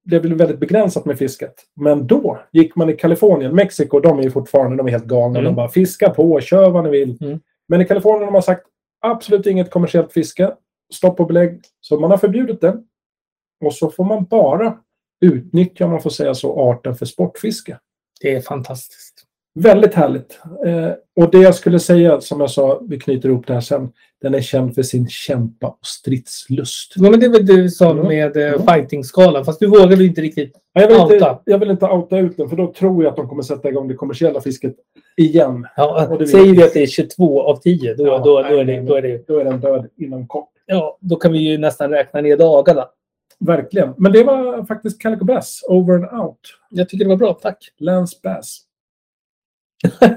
det blev väldigt begränsat med fisket. Men då gick man i Kalifornien, Mexiko, de är ju fortfarande de är helt galna.
Mm.
De bara fiska på, kör vad ni vill.
Mm.
Men i Kalifornien har man sagt absolut inget kommersiellt fiske. Stopp och belägg. Så man har förbjudit det. Och så får man bara utnyttja, om man får säga så, arten för sportfiske.
Det är fantastiskt.
Väldigt härligt. Eh, och det jag skulle säga, som jag sa, vi knyter ihop det här sen. Den är känd för sin kämpa och stridslust.
Ja, men det är väl du som
Mm.
med
Mm.
eh, fighting-skalan. Fast du vågade inte riktigt.
Ja, Jag vill, inte,
Outa.
jag vill inte outa ut den, för då tror jag att de kommer sätta igång det kommersiella fisket igen. Och
Ja,
det
säger
vet
vi
jag.
att det är 22 av 10, då,
Ja,
då,
nej,
då, är det,
nej,
då, är det,
Då är den död inom kort.
ja, då kan vi ju nästan räkna ner dagarna.
Verkligen. Men det var faktiskt Calico Bass, Over and Out.
Jag tycker det var bra, tack.
Lance Bass.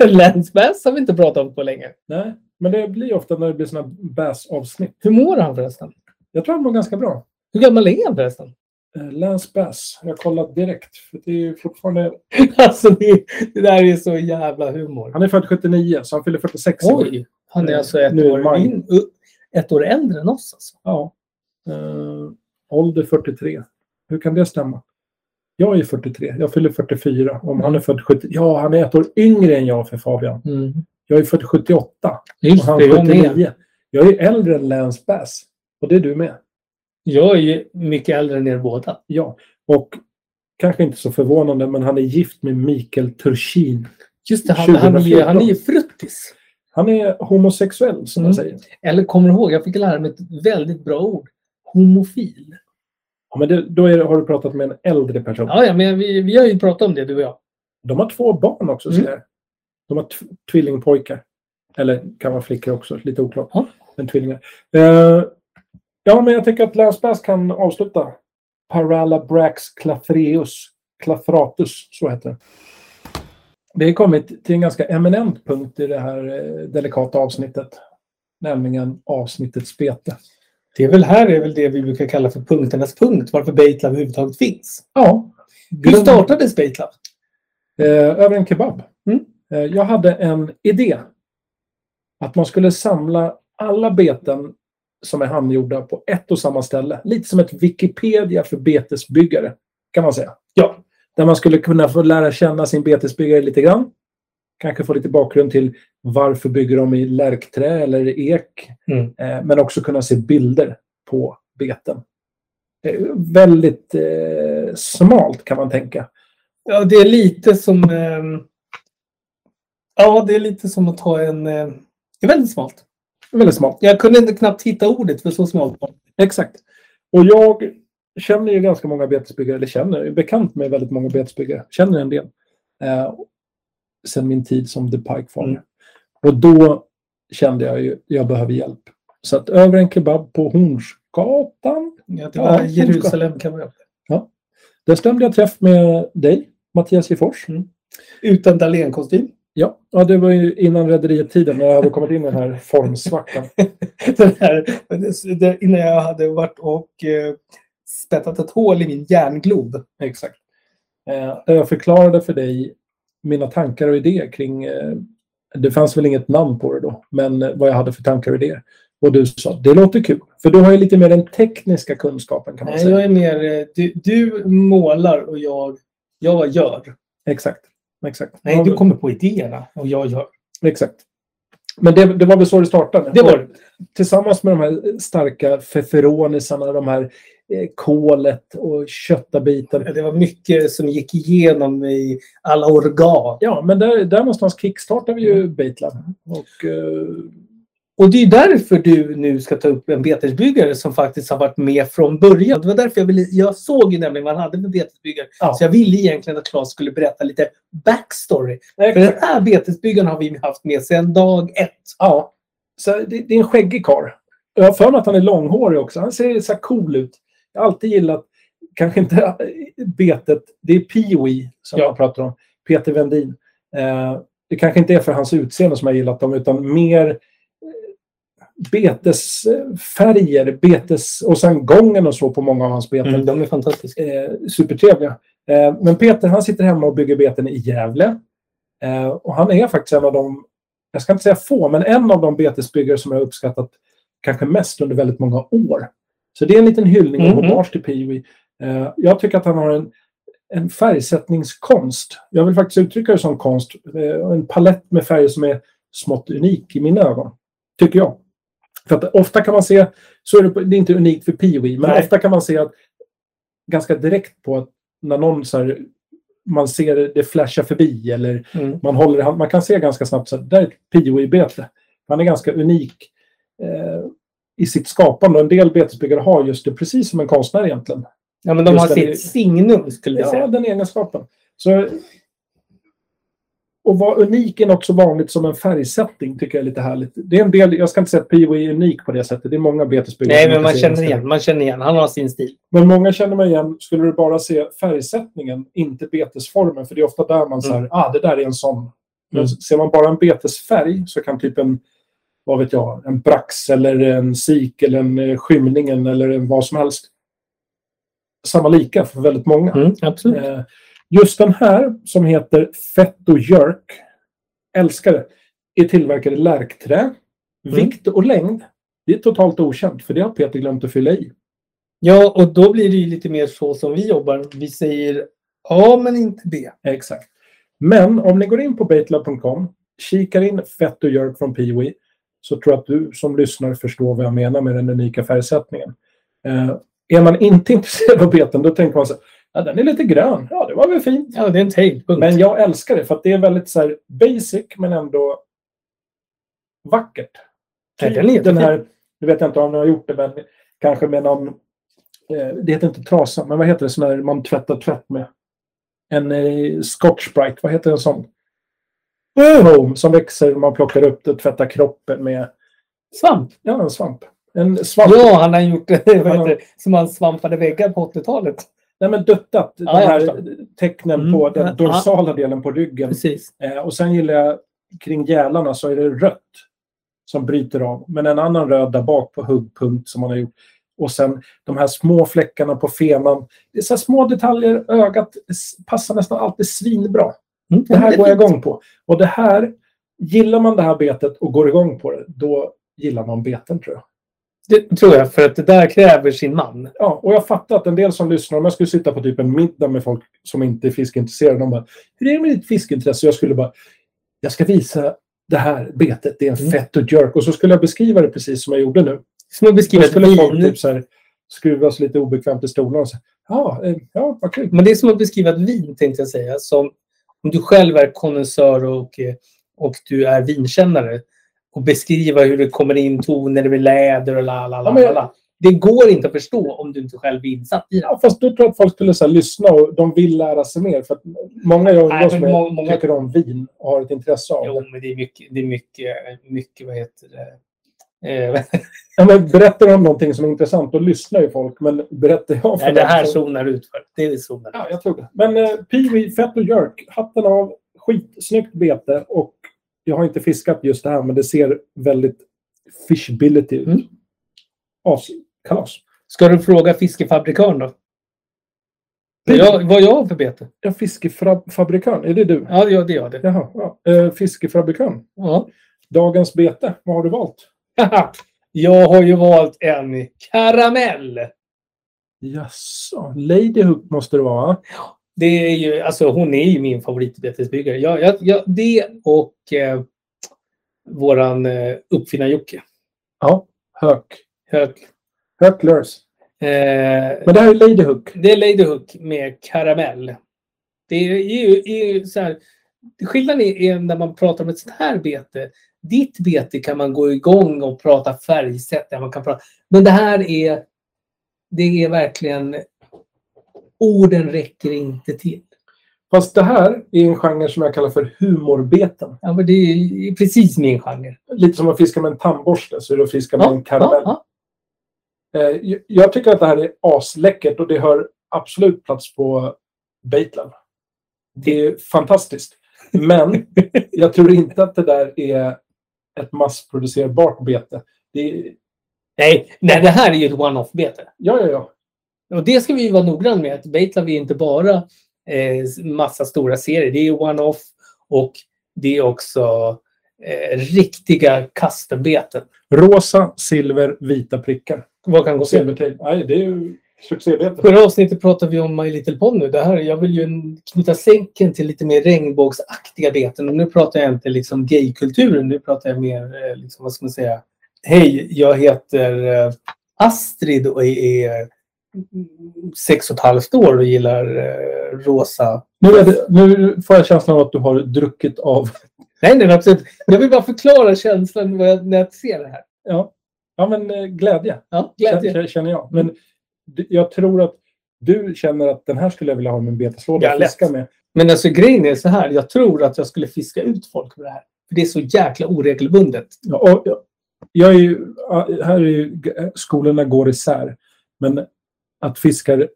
Länsbass har vi inte pratat om på länge.
Nej, men det blir ofta när det blir såna Bass-avsnitt.
Hur mår han förresten?
Jag tror han mår ganska bra.
Hur gammal är han förresten?
Eh, Lance Bass. Jag kollat direkt. För det är ju fortfarande...
Alltså, det, det där är så jävla humor.
Han är född 79, så han fyller 46 i år.
Oj! Han är alltså ett,
Nu i
år,
maj.
in, u- ett år äldre än oss. Alltså.
Ja. Eh, ålder 43. Hur kan det stämma? Jag är 43. Jag fyller 44. Om han är född 70... Ja, han är ett år yngre än jag för Fabian. Jag är född 78. Och
Mm. Just
han
det,
är
jag med.
79. Jag är äldre än Lance Bass. Och det är du med.
Jag är ju mycket äldre än er båda.
Ja. Och kanske inte så förvånande, men han är gift med Mikael Turchin.
Just det, han, han, är, ju- han är ju fruttis.
Han är homosexuell, som man
Mm.
säger.
Eller kommer du ihåg, jag fick lära mig ett väldigt bra ord. Homofil.
Ja, men det, då är, det- har du pratat med en äldre person.
Ja, ja men vi, vi har ju pratat om det, du och jag.
De har två barn också,
Mm.
ser jag. De har tv- tvillingpojkar. Eller kan vara flickor också, lite oklart.
Ja.
Men tvillingar. Eh, ja, men jag tycker att Lance Bass kan avsluta. Paralabrax clafreus. Clafratus, så heter det. Vi har kommit till en ganska eminent punkt i det här eh, delikata avsnittet. Nämligen avsnittets bete.
Det är väl här är väl det vi brukar kalla för punkternas punkt, varför Baitlab överhuvudtaget finns.
Ja.
Hur startades Baitlab?
Eh, över en kebab.
Mm.
Eh, Jag hade en idé. Att man skulle samla alla beten som är handgjorda på ett och samma ställe. Lite som ett Wikipedia för betesbyggare, kan man säga. Ja. Där man skulle kunna få lära känna sin betesbyggare lite grann. Kanske få lite bakgrund till varför bygger de i lärkträ eller ek.
Mm.
Eh, Men också kunna se bilder på beten. Eh, Väldigt eh, smalt kan man tänka.
Ja, det är lite som... ehm, ja, det är lite som att ta en... Eh, det är väldigt smalt.
Väldigt smalt.
Jag kunde inte knappt hitta ordet för så smalt var det.
Exakt. Och jag känner ju ganska många betesbyggare, eller känner, är bekant med väldigt många betesbyggare. Känner en del. Eh, sen min tid som The Pike Farmer.
Mm.
Och då kände jag ju, jag behöver hjälp. Så att över en kebab på Hornsgatan.
Ja, det var
Ja,
Jerusalem kan man göra.
Där stämde jag träff med dig, Mattias Gifors.
Utan Dahlén-kostym.
Ja, ja, det var ju innan Rederiet-tiden när jag hade kommit in i den här formsvackan.
Den här, det- innan jag hade varit och eh, spettat ett hål i min järnglob.
Exakt. Eh, där jag förklarade för dig mina tankar och idéer kring... Eh, det fanns väl inget namn på det då, men eh, vad jag hade för tankar och idéer. Och du sa, det låter kul. För du har ju lite mer den tekniska kunskapen kan man
Nej,
säga.
jag är mer... eh, Du, du målar och jag, jag gör.
Exakt. Exakt.
Nej,
Ja,
du kommer på idéerna och jag gör.
Exakt. Men det, det var väl så det startade?
Det var det.
Tillsammans med de här starka feferonisarna, de här eh, kolet och köttabiten.
Det var mycket som gick igenom i alla organ.
Ja, men där, där någonstans kickstartade vi
Mm.
ju Batelab. Och eh,
Och det är därför du nu ska ta upp en betesbyggare som faktiskt har varit med från början. Det var därför jag ville... Jag såg ju nämligen vad han hade för betesbyggare.
Ja.
Så jag ville egentligen att Claes skulle berätta lite backstory. För
exakt.
den här betesbyggaren har vi haft med sedan dag ett.
Ja. Så det, det är en skäggig karl. Jag har för mig att han är långhårig också. Han ser så här cool ut. Jag har alltid gillat, kanske inte äh, betet, det är Pee-wee som
Ja.
jag pratar om. Peter Wendin. Eh, det kanske inte är för hans utseende som jag har gillat dem, utan mer eh, betesfärger, betes, och sen gången och så på många av hans beten
Mm. De är fantastiska.
eh, supertrevliga. Eh, men Peter han sitter hemma och bygger beten i Gävle. Eh, och han är faktiskt en av de, jag ska inte säga få, men en av de betesbyggare som jag har uppskattat kanske mest under väldigt många år. Så det är en liten hyllning och
Mhm.
hommage till Peewee. Eh, jag tycker att han har en, en färgsättningskonst. Jag vill faktiskt uttrycka det som konst. Eh, och en palett med färger som är smått unik i mina ögon. Tycker jag. För att ofta kan man se, så är det, på- det är inte unikt för Peewee, men
Nej.
ofta kan man se att ganska direkt på att när någon så här, man ser det flasha förbi eller
Mm.
man håller i hand- man kan se ganska snabbt att där är ett Pio-bete. Han är ganska unik eh, i sitt skapande. Och En del betesbyggare har just det, precis som en konstnär egentligen.
Ja, men de
Just
har
det,
sitt
det-
signum skulle vi
Ja,
säga.
den egenskapen. Så, och vara unik är något så vanligt som en färgsättning tycker jag är lite härligt. Det är en del, jag ska inte säga att Pio är unik på det sättet. Det är många betesbyggare
Nej,
som
men
inte
man
ser
känner
ens det.
igen. Man känner igen. Han har sin stil.
Men många känner mig igen, skulle du bara se färgsättningen, inte betesformen, för det är ofta där man säger, ah, det där är en sån. Men
Mm.
ser man bara en betesfärg så kan typ en, vad vet jag, en brax eller en sik eller en eh, skymningen eller en vad som helst. Samma lika för väldigt många.
absolut.
Eh, Just den här som heter Fetto Jerk, älskar det, är tillverkad i lärkträ. Vikt och längd, det är totalt okänt för det har Peter glömt att fylla i.
Ja, och då blir det ju lite mer så som vi jobbar. Vi säger A men inte B.
Exakt. Men om ni går in på batelab.com, kikar in Fett och Jerk från Peewee så tror jag att du som lyssnar förstår vad jag menar med den unika färgsättningen. Eh, är man inte intresserad av beten då tänker man så här, ja den är lite grön, ja det var väl fint.
Ja, det är en tail. Punkt.
Men jag älskar det för att det är väldigt så här basic men ändå vackert.
Ja,
Typ
den är jättefin.
den här, nu vet jag inte om ni har gjort det, men kanske med någon, eh, det heter inte trasa, men vad heter det, sån här man tvättar tvätt med? En eh, Scotch Brite, vad heter en sån? Boom, som växer, man plockar upp det och tvättar kroppen med,
Svamp.
ja en svamp. En svamp,
Ja, han har gjort vad heter
har-
det, som han svampade väggar på 80-talet.
nej men duttat, de
jag
här
förstår.
tecknen
Mm.
på den
Ja.
dorsala delen på ryggen.
Precis.
Eh, och sen gillar jag, kring gälarna så är det rött som bryter av. Men en annan röd där bak på huggpunkt som man har gjort. Och sen de här små fläckarna på fenan. Det är så här små detaljer, ögat s- passar nästan alltid svinbra.
Mm,
Det här
är
går jag
fint.
igång på. Och det här, gillar man det här betet och går igång på det, då gillar man beten tror jag.
Det tror jag, för att det där kräver sin man.
Ja, och jag fattar att en del som lyssnar, om jag skulle sitta på typ en middag med folk som inte är fiskintresserade, de bara ”Hur är det med ditt fiskeintresse?” Jag skulle bara ”Jag ska visa det här betet, det är en
Mm.
fett och jerk” och så skulle jag beskriva det precis som jag gjorde nu.
Som att
Då
beskriva ett
skulle folk
vin.
typ så här skruvas lite obekvämt i stolarna och säga ”Ja, eh, ja vad kul”.
Men det är som att beskriva ett vin, tänkte jag säga. Som om du själv är konnässör och, eh, och du är vinkännare och beskriva hur det kommer in toner, det blir läder och la, la,
Ja,
la,
men
la,
jag-
la. Det går inte att förstå om du inte själv är insatt i det.
Ja, fast då tror jag att folk skulle så här, lyssna och de vill lära sig mer. För att många jag
Nej,
umgås
men
med
må- många-
tycker om vin och har ett intresse av
Jo,
det.
men det är mycket, det är mycket, mycket vad heter det? Eh,
Ja, men berättar de om någonting som är intressant, då lyssnar ju folk. Men berättar jag för
nej, det
dem
här
så-
zonar ut för. Det är zonar ut.
Ja, jag tror det. Men eh, Peewee, Fett och Jerk, hatten av, skitsnyggt bete. Och jag har inte fiskat just det här, men det ser väldigt fishability ut.
Mm.
Askalas.
Ska du fråga fiskefabrikören då? Vad jag, vad jag har för bete?
Ja, fiskefabrikörn, är det du?
Ja, ja det gör det.
Jaha, ja. Eh, fiskefabrikörn.
Ja.
Dagens bete, vad har du valt?
Haha. jag har ju valt en karamell.
Jaså, Ladyhook måste det vara? va?
Det är ju, alltså hon är ju min favoritbetesbyggare. Jag, jag, jag, det och eh, våran eh, uppfinnar-Jocke.
Ja, Hök.
Hög.
Höklers.
Eh,
Men det här är Ladyhook.
Det är Ladyhook med karamell. Det är ju, är ju så här, skillnaden är, är när man pratar om ett sånt här bete. Ditt bete kan man gå igång och prata färgsättningar. Man kan prata, men det här är, det är verkligen, orden räcker inte till.
Fast det här är en genre som jag kallar för humorbeten.
Ja, men det är precis min genre.
Lite som att fiska med en tandborste så är det att fiska med en karamell.
ja.
Eh, jag- Jag tycker att det här är asläckert och det hör absolut plats på Batelab. Det är fantastiskt. Men jag tror inte att det där är ett massproducerbart bete. Det är,
Nej, nej, det här är ju ett one-off-bete.
ja, ja, ja.
Och det ska vi ju vara noggranna med. Att Batelab är inte bara eh, massa stora serier. Det är one-off och det är också eh, riktiga custombeten.
Rosa, silver, vita prickar.
Vad kan gå fel?
Silvertejp. Nej, det är ju succébete.
Förra avsnittet pratade vi om My Little Pony. Det här, jag vill ju knyta sänken till lite mer regnbågsaktiga beten. Och nu pratar jag inte liksom gaykulturen. Nu pratar jag mer, eh, liksom, vad ska man säga? Hej, jag heter eh, Astrid och är eh, sex och ett halvt år och gillar eh, rosa.
Nu, är det, nu får jag känslan av att du har druckit av...
Nej, nej, absolut. Jag vill bara förklara känslan vad jag- när jag ser det här.
Ja, ja men eh, glädje,
Ja,
glädje.
glädje.
känner jag. Men d- jag tror att du känner att den här skulle jag vilja ha i min beteslåda
Ja,
att
lätt.
fiska med.
Men alltså grejen är så här. Jag tror att jag skulle fiska ut folk med det här. För det är så jäkla oregelbundet.
Ja, och, jag- jag är ju, här är ju, eh, skolorna går isär. Men att fiskare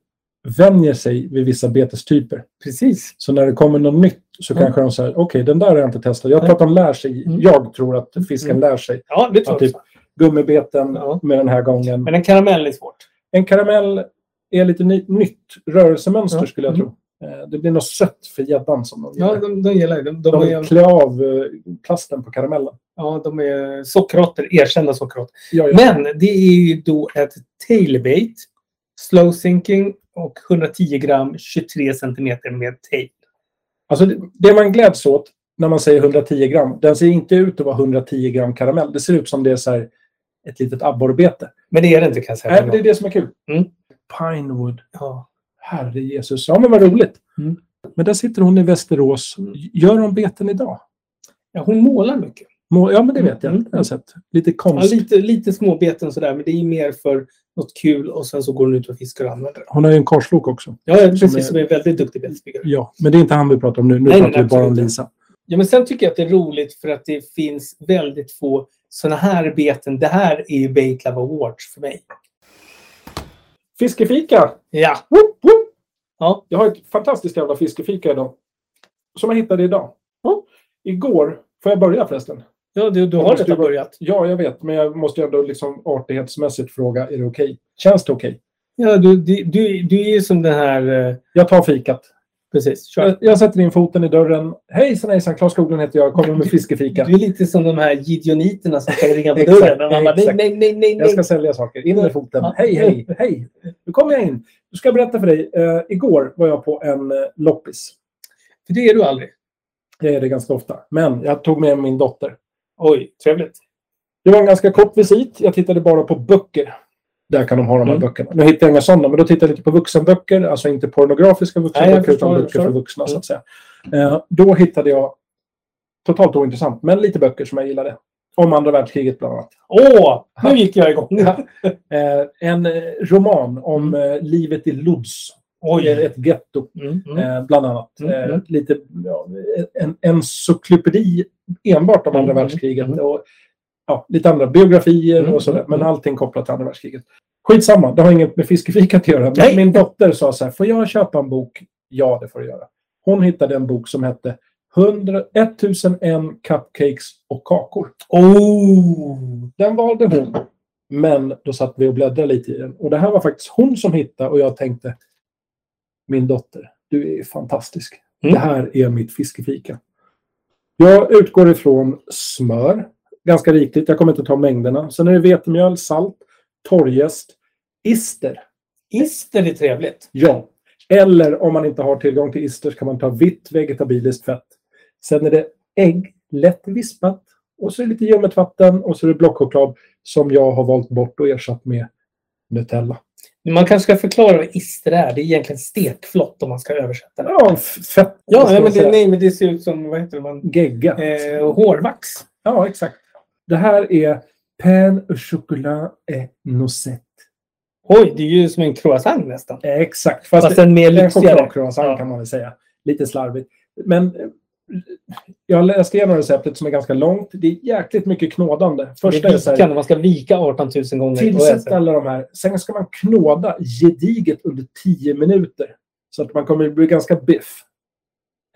vänjer sig vid vissa betestyper.
Precis.
Så när det kommer något nytt så
Mm.
kanske de säger okej, den där har jag inte testat. Jag tror
Nej.
att de lär sig.
Mm.
Jag tror att fisken lär sig.
Ja, det
Ja,
tror jag.
typ gummibeten
Ja.
med den här gången.
Men en karamell är svårt.
En karamell är lite ny, nytt rörelsemönster
Ja. Mm.
skulle jag tro. Eh, Det blir något sött för gäddan som de
Ja,
gillar.
de, de gillar ju det. De, de,
De
är,
klär av eh, plasten på karamellen.
ja, de är sockerrotter, erkända sockerrotter.
Ja, ja.
Men det är ju då ett tailbait, slow sinking och 110 gram 23 centimeter med tail.
Alltså, det- det man gläds åt när man säger 110 gram, den ser inte ut att vara 110 gram karamell. Det ser ut som det är så här ett litet abborrbete.
Men det är det inte kan jag säga.
Nej, men det är det som är kul.
Mm.
Pinewood.
Ja.
Herre Jesus. Ja, men vad roligt.
Mm.
Men där sitter hon i Västerås. Gör hon beten idag?
Ja, hon målar mycket.
Må- Ja, men det vet jag.
Mm.
Det har jag sett. Lite
Ja,
konst.
lite, lite småbeten sådär, men det är mer för något kul och sen så går hon ut och fiskar och använder det.
Hon har ju en karslok också.
Ja, precis.
är-
Som är en väldigt duktig betesbyggare.
Ja, men det är inte han vi pratar om nu. Nu
Nej,
pratar
nej,
vi bara om
absolut.
Lisa.
Ja, men sen tycker jag att det är roligt för att det finns väldigt få sådana här beten. Det här är ju Baitlab Awards för mig.
Fiskefika!
Ja.
Woop, woop.
Ja.
Jag har ett fantastiskt jävla fiskefika idag. Som jag hittade idag.
Ja.
Igår, får jag börja förresten?
Ja, du, du
Jag
har
måste
redan
ju bara-
börjat.
Ja, jag vet, men jag måste ju ändå liksom artighetsmässigt fråga, är det okej? Känns det okej?
Ja, du, du, du, du är ju som den här... eh,
Jag tar fikat.
Precis, kör.
Jag, jag sätter in foten i dörren. Hejsan hejsan, Claes Skoglund heter jag. Kommer med fiskefika.
Du är lite som de här gideoniterna som ska ringa på dörren.
Exakt,
Man bara, nej,
exakt.
nej, nej, nej,
Jag
nej.
ska sälja saker. In med foten.
Ja.
Hej, hej, hej. Nu kommer jag in. Nu ska jag berätta för dig. Eh, igår var jag på en eh, loppis.
För det är du aldrig.
Jag är det ganska ofta. Men jag tog med min dotter.
Oj, trevligt.
Det var en ganska kort visit. Jag tittade bara på böcker. Där kan de ha de här
Mm.
böckerna. Nu hittade jag inga sådana, men då tittade jag lite på vuxenböcker. Alltså inte pornografiska
Nej, jag
vuxenböcker, utan
förstår, jag
böcker för
förstår. Mm.
vuxna. så att säga. Eh, då hittade jag, totalt ointressant, men lite böcker som jag gillade. Om andra världskriget bland annat.
Åh, nu gick jag igång. Mm.
Eh, en eh, roman om eh, livet i Lodz.
Oj.
Eh, Ett getto,
Mm, mm.
eh, bland annat.
Mm,
Eh,
mm.
lite, ja, en encyklopedi enbart om andra
Mm, mm,
världskriget.
mm.
Och, ja, lite andra biografier
Mm,
och sådär.
mm,
Men
mm.
allting kopplat till andra världskriget. Skitsamma, det har inget med fiskefika att göra. Men
Nej.
min dotter sa så här, får jag köpa en bok? Ja, det får du göra. Hon hittade en bok som hette 100, 1001 cupcakes och kakor.
Oh.
Den valde hon. Men då satt vi och bläddrade lite i den. Och det här var faktiskt hon som hittade och jag tänkte Min dotter, du är fantastisk.
Mm.
Det här är mitt fiskefika. Jag utgår ifrån smör. Ganska rikligt. Jag kommer inte ta mängderna. Sen är det vetemjöl, salt, torrjäst, ister.
Ister är trevligt.
Ja. Eller om man inte har tillgång till ister så kan man ta vitt vegetabiliskt fett. Sen är det ägg, lätt vispat. Och så är det lite ljummet vatten och så är det blockchoklad som jag har valt bort och ersatt med Nutella.
Man kanske ska förklara vad ister är. Det är egentligen stekflott om man ska översätta det.
Ja, f- fett. vad
Ja,
ska man
men det,
säga?
nej, men det ser ut som vad heter det, man,
Gegga.
eh, hårvax.
Ja, exakt. Det här är pain au chocolat et noisette.
Oj, det är ju som en croissant nästan.
Eh, Exakt. Fast,
Fast en mer
det är en
lyxigare.
chokladcroissant
Ja.
kan man väl säga. Lite slarvigt. Men eh, jag läste igenom receptet som är ganska långt. Det är jäkligt mycket knådande. Första är så
Det
här,
kan man ska vika 18 000 gånger.
Tillsätt alla de här. Sen ska man knåda gediget under 10 minuter. Så att man kommer bli ganska biff.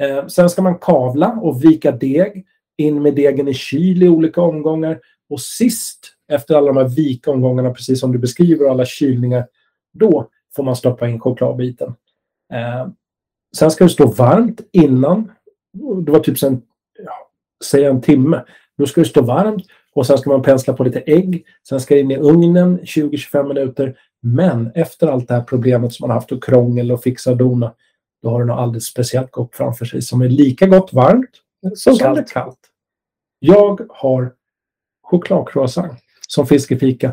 Eh, sen ska man kavla och vika deg. In med degen i kyl i olika omgångar. Och sist, efter alla de här vikomgångarna, precis som du beskriver, och alla kylningar, då får man stoppa in chokladbiten. Eh, sen ska det stå varmt innan. Det var typ sen, ja, säg en timme. Då ska det stå varmt och sen ska man pensla på lite ägg. Sen ska det in i ugnen 20-25 minuter. Men efter allt det här problemet som man har haft och krångel och fixa och dona, då har du något alldeles speciellt gott framför sig som är lika gott varmt
Så
som det är
kallt.
kallt. Jag har chokladcroissant som fiskefika.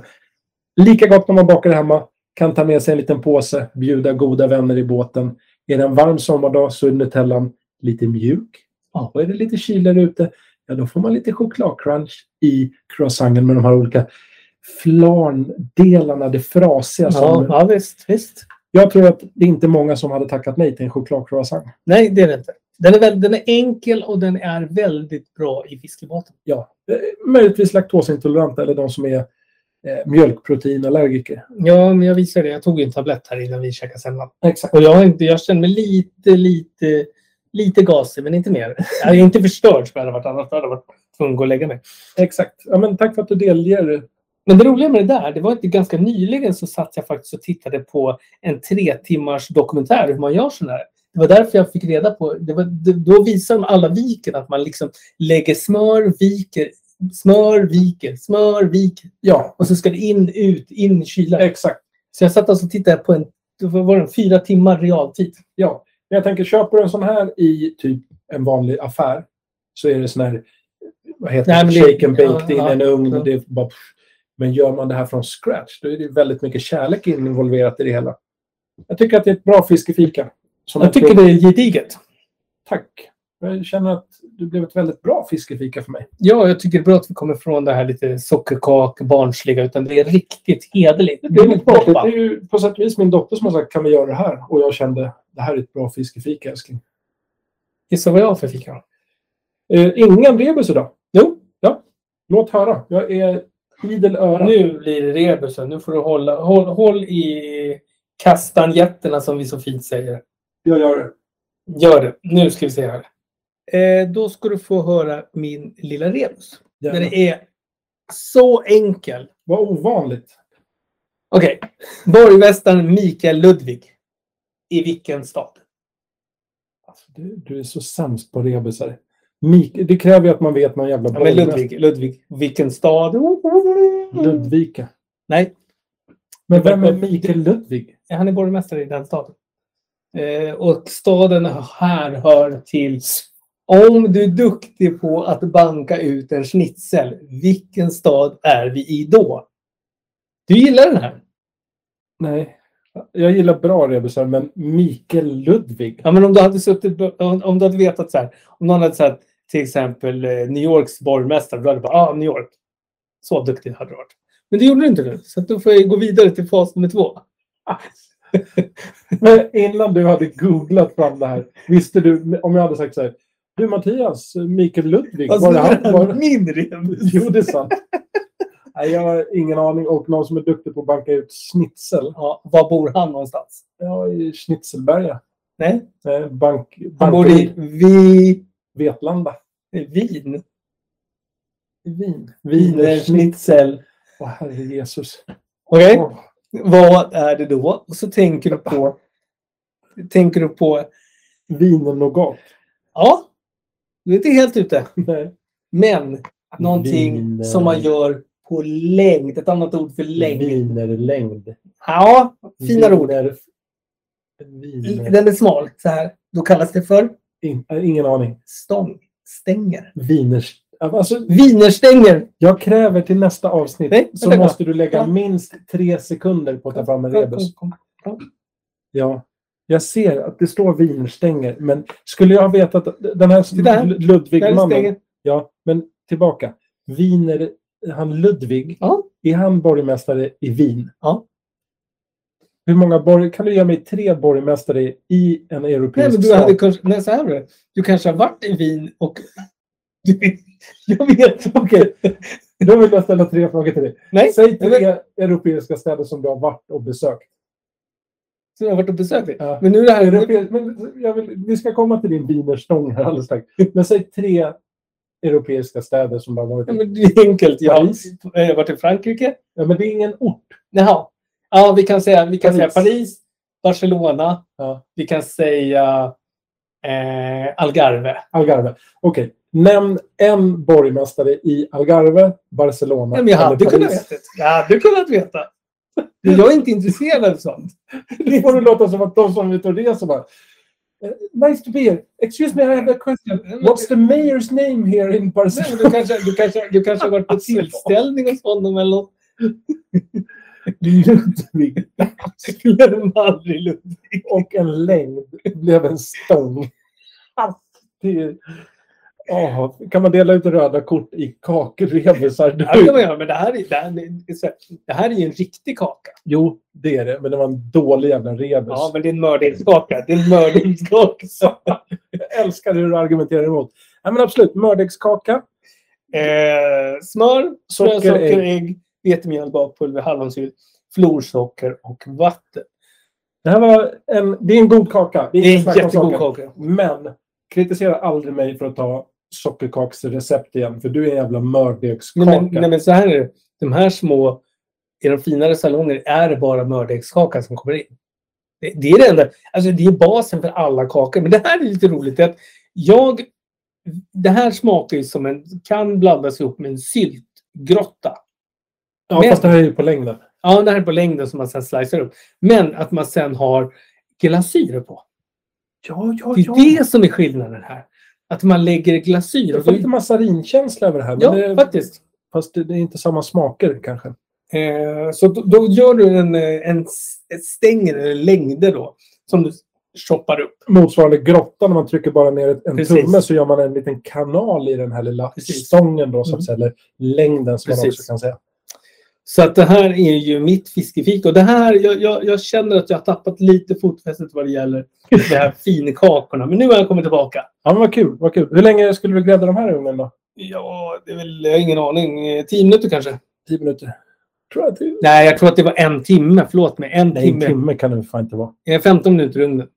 Lika gott när man bakar hemma. Kan ta med sig en liten påse, bjuda goda vänner i båten. Är det en varm sommardag så är Nutellan lite mjuk. Ja, och är det lite kyligare ute, ja då får man lite chokladcrunch i croissanten med de här olika flarndelarna, det frasiga.
Ja,
Som...
ja, visst, visst.
Jag tror att det är inte många som hade tackat nej till en chokladcroissant.
Nej, det är det inte. Den är, väl, den är enkel och den är väldigt bra i fiskematen.
ja, eh, möjligtvis laktosintoleranta eller de som är eh, mjölkproteinallergiker.
Ja, men jag visar det. Jag tog ju en tablett här innan vi käkade semlan.
Exakt.
Och jag, har inte, jag känner mig lite, lite, lite gasig, men inte mer. Jag är inte förstörd som jag hade varit annars. Jag hade varit tvungen att gå och lägga mig.
Exakt. Ja, men tack för att du delger.
Men det roliga med det där, det var inte ganska nyligen så satt jag faktiskt och tittade på en tre timmars dokumentär hur man gör sådana här. Det var därför jag fick reda på, det var, det, då visar de alla viken att man liksom lägger smör, viker, smör, viker, smör, viker.
Ja,
Och så ska det in, ut, in, kyla.
exakt.
Så jag satt alltså och tittade på en, det var var det, fyra timmar realtid.
Ja. Men jag tänker, köper du en sån här i typ en vanlig affär så är det sån här, vad heter
Nej,
det,
men det-
shake and baked
ja,
in
ja,
en ugn.
ja.
Det är bara, men gör man det här från scratch, då är det väldigt mycket kärlek involverat i det hela. Jag tycker att det är ett bra fiskefika. Som
Jag tycker det är gediget.
Tack. Jag känner att du blev ett väldigt bra fiskefika för mig.
Ja, jag tycker det är bra att vi kommer från det här lite sockerkak, barnsliga, utan det är riktigt hederligt.
Det är, mitt barn. det är ju på sätt och vis min dotter som har sagt kan vi göra det här? Och jag kände det här är ett bra fiskefika älskling.
Gissa vad jag har för fika.
Eh, ingen rebus idag? Jo. Ja. Låt höra. Jag är idel öra.
Nu blir det rebusen. Nu får du hålla håll, håll i kastanjetterna som vi så fint säger.
Jag gör det.
Gör det. Nu ska vi se här. Eh, då ska du få höra min lilla rebus. Den
Jävlar.
är så enkel.
Vad ovanligt.
Okej. Borgmästaren Mikael Ludvig. I vilken stad?
Alltså, Du, du är så sämst på rebusar. Mik det kräver ju att man vet någon jävla
Ja, men
borgmästare.
Ludvig, Ludvig. Vilken stad?
Ludvika.
Nej,
Men vem är Mikael Ludvig?
han är borgmästare i den staden. Eh, och staden här hör till... Om du är duktig på att banka ut en schnitzel, vilken stad är vi i då? Du gillar den här?
Nej. Jag gillar bra rebusar, men Mikael Ludvig?
Ja, men om du hade suttit... Om, om du hade vetat så här. Om någon hade sagt till exempel eh, New Yorks borgmästare, då hade du bara ah, New York. Så duktig hade du varit. Men det gjorde du inte nu, så att då får jag gå vidare till fas nummer två.
Men innan du hade googlat fram det här, visste du, om jag hade sagt så här, du Mattias, Mikael Ludvig,
Alltså,
var det
det här
han? Var
var
det...
min rebus.
Jo, det är sant. Nej, jag har ingen aning. Och någon som är duktig på att banka ut schnitzel.
Ja, var bor han någonstans?
Ja, i Schnitzelberga.
Nej,
Eh, Bank,
han
bank-
bor i Vi...
Vetlanda.
Wien.
Vin.
eh, Wienerschnitzel.
Åh, herre Jesus.
Okej,
Åh,
vad är det då? Och så tänker du på... Tänker du på...
Wienernogat.
Ja, du är inte helt ute.
Nej.
Men någonting
Vin-
som man gör på längd. Ett annat ord för längd.
Wienerlängd.
Ja, finare ord.
Wiener- Wiener-
Den är smal. Så här. Då kallas det för
In, eh, ingen aning.
stång. Stänger.
Wieners... Alltså,
Wienerstänger.
jag kräver till nästa avsnitt
Nej,
så
vänta.
måste du lägga
Ja.
minst tre sekunder på att ta fram en rebus. Ja. Jag ser att det står wienerstänger, men skulle jag ha vetat att den här
där. Där är
Ludvig-mannen...
stänger.
Ja, men tillbaka. Wiener, han Ludvig,
Ja.
är han borgmästare i Wien?
Ja.
Hur många borg, kan du ge mig tre borgmästare i en
Nej,
europeisk
men du
stad?
hade kanske... Nej, så här var det. Du kanske har varit i Wien och... Du, jag vet.
Okej, då vill jag ställa tre frågor till dig.
Nej,
Säg
jag
tre
vet.
europeiska städer som du har varit och besökt.
Så jag har varit och besökt dig.
Ja.
Men nu är det här...
Europe- men jag vill, vi ska komma till din wienerstång här alldeles strax. Men säg tre europeiska städer som du har varit
Ja,
i.
men det är enkelt. Jag har
Paris.
eh, jag har varit i Frankrike.
Ja, men det är ingen ort.
Jaha. Ja, vi kan säga, vi kan
Paris.
säga Paris, Barcelona.
Ja.
Vi kan säga eh, Algarve.
Algarve. Okej. Nämn en borgmästare i Algarve, Barcelona
Nej, men jag hade
eller
kunnat veta. Jag hade kunnat veta. Men jag är inte intresserad av sånt.
Det får det låta som att de som är ute och reser bara... "Eh, Nice to be here. Excuse me, I have a question. What's the mayor's name here in
Nej,
Barcelona?
men Du kanske, du kanske, du kanske har varit
Alltså.
på tillställning hos honom eller något.
Ludvig.
Glöm aldrig Ludvig.
Och en längd blev en stång.
Alltså,
Det är... Åh, kan man dela ut röda kort i kakrebusar?
Ja, det kan man göra, men det här är, det här är, så här, det här är ju en riktig kaka.
Jo, det är det. Men det var en dålig jävla rebus.
Ja, men det är en mördegskaka. Det är en Eh, mördegskaka.
Jag älskar hur du argumenterar emot. Ja, men absolut, mördegskaka.
Eh, smör,
Socker,
socker, socker
ägg.
ägg, vetemjöl, bakpulver, hallonsylt, florsocker och vatten.
Det här var en, det är en god kaka.
Det är
inget
en
snack om
jättegod
saken.
kaka.
Men kritisera aldrig mig för att ta sockerkaksrecept igen. För du är en jävla
Nej,
mördegskaka.
men, nej, men så här är det. De här små, i de finare salonger, är det bara mördegskaka som kommer in. Det, det är det enda. Alltså, det är basen för alla kakor. Men det här är lite roligt. Att jag, det här smakar ju som en, kan blandas ihop med en syltgrotta.
ja,
men-
fast det här är ju på längden.
Ja, det här är på längden som man sen slicear upp. Men att man sen har glasyrer på.
Ja, ja,
Det är det som är skillnaden här. Att man lägger glasyr.
Jag får lite massarinkänsla över det här.
Ja,
men det,
faktiskt.
Fast det, det är inte samma smaker kanske.
Eh, så då, då gör du en, eh, en s- ett stänger eller längder då. Som du choppar upp.
Motsvarande grotta, när man trycker bara ner ett- en
Precis.
tumme så gör man en liten kanal i den här lilla
Precis.
stången. Då, så
Mm.
att säga, eller längden som man
Precis.
också kan säga.
Så att det här är ju mitt fiskefik. Och det här, jag, jag, jag känner att jag har tappat lite fotfästet vad det gäller de här finkakorna. Men nu har jag kommit tillbaka.
Ja, men vad kul, vad kul. Hur länge skulle vi grädda de här i ugnen då?
Ja, det är väl, jag har ingen aning. Eh, Tio minuter kanske?
Tio minuter. Tror jag till.
Nej, jag tror att det var en timme. Förlåt mig. En
Nej, en
timme.
timme kan det fan inte vara.
Eh, 15 minuter i ugnen.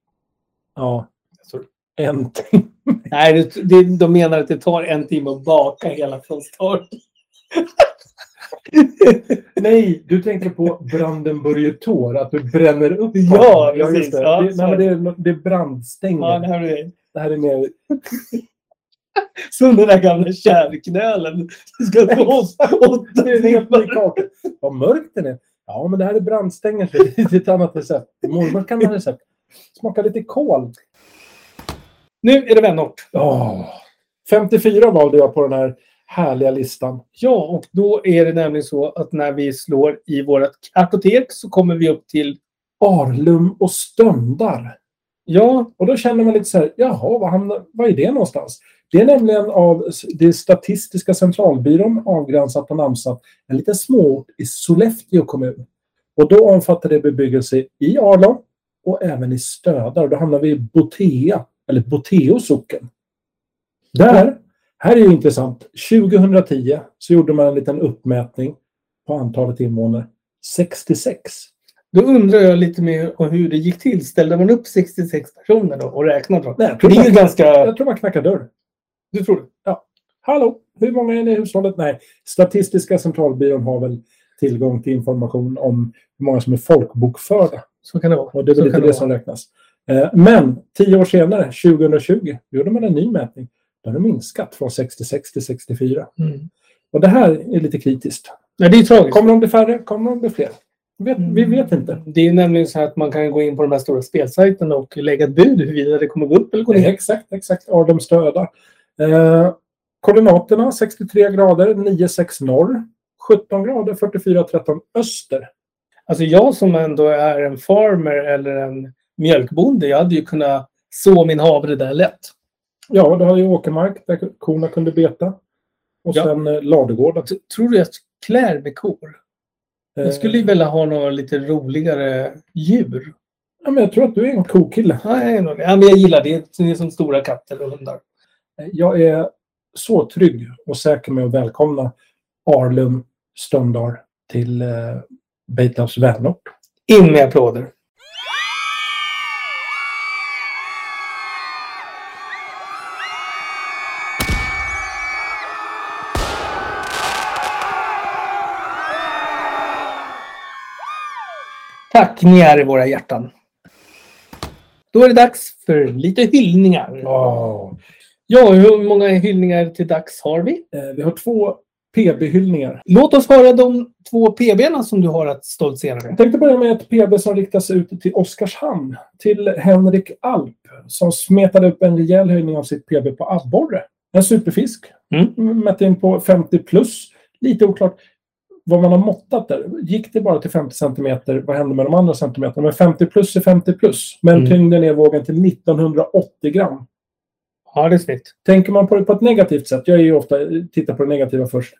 Ja.
Sorry.
En timme.
Nej, det, det, de menar att det tar en timme att baka hela från start.
Nej, du tänker på Brandenburger Tor, att du bränner upp
Ja,
den.
precis.
det.
Ja,
det, nej, men det, är, det är brandstänger.
Ja, det här är det.
Det här är mer...
Som den där gamla kärrknölen. Det ska ta oss åtta
Det är en helt ny
timmar.
kaka. Vad mörk den är. Ja, men det här är brandstängel. Det är ett annat recept. Mormor kan ha recept. Smaka lite kol.
Nu är det vänort.
Åh. 54 valde jag på den här härliga listan.
Ja, och då är det nämligen så att när vi slår i vårt kartotek så kommer vi upp till...
Arlum och Stöndar.
Ja,
Och då känner man lite så här, jaha, vad, hamnar, vad är det någonstans? Det är nämligen av s- det Statistiska centralbyrån avgränsat och namnsatt en liten småort i Sollefteå kommun. Och då omfattar det bebyggelse i Arlom och även i Stödar. Och Då hamnar vi i Botea, eller Boteo socken. Där, här är ju intressant, 2010 så gjorde man en liten uppmätning på antalet invånare. 66.
då undrar jag lite mer om hur det gick till. Ställde man upp 66 personer då och räknade dem?
Nej,
För
jag tror
det är ju
man-
ganska...
Jag tror man knackar dörr.
Du tror det?
Hallå, hur många är ni i hushållet? Nej, Statistiska centralbyrån har väl tillgång till information om hur många som är folkbokförda.
Så kan det vara.
Och det är
Så
väl lite
kan
det som räknas. Eh, Men tio år senare, 2020, gjorde man en ny mätning. Då har det minskat från 66 till 64.
vara. Mm.
Och det här är lite kritiskt.
Nej, det är tragiskt.
Kommer de bli färre? Kommer de bli fler? Vi vet,
Mm.
vi vet inte.
Det är ju nämligen så här att man kan gå in på de här stora spelsajterna och lägga ett bud huruvida det kommer gå upp eller gå
Nej,
ner.
exakt, exakt. Adam Stöda. Eh, koordinaterna 63 grader 96 norr. 17 grader 44 13 öster.
Alltså jag som ändå är en farmer eller en mjölkbonde, jag hade ju kunnat så min havre där lätt.
Ja, det har ju åkermark där korna kunde beta. Och
Ja.
sen eh, ladugård.
T- Tror du jag klär med kor?
Eh,
Jag skulle ju vilja ha några lite roligare djur.
ja, men jag tror att du är en kokille.
Nej, nog- ja, men jag gillar det. Det är som stora katter och hundar.
Eh, Jag är så trygg och säker med att välkomna Arlum Stöndar till eh, Beitarps vänort.
In med applåder. Tack, ni är i våra hjärtan. Då är det dags för lite hyllningar.
Wow.
Ja, hur många hyllningar till dags har vi?
Eh, vi har två PB-hyllningar.
Låt oss höra de två PB'na som du har att stoltsera med.
Jag tänkte börja med ett PB som riktas ut till Oskarshamn. Till Henrik Alp som smetade upp en rejäl höjning av sitt PB på abborre. En superfisk. Mm. Mätte in på 50 plus. Lite oklart vad man har måttat där. Gick det bara till 50 centimeter, vad hände med de andra centimeterna? Men 50 plus är 50 plus. Men
Mm.
tyngden är vågen till 1980 gram.
Ja, det är snyggt.
Tänker man på det på ett negativt sätt, jag är ju ofta tittar på det negativa först.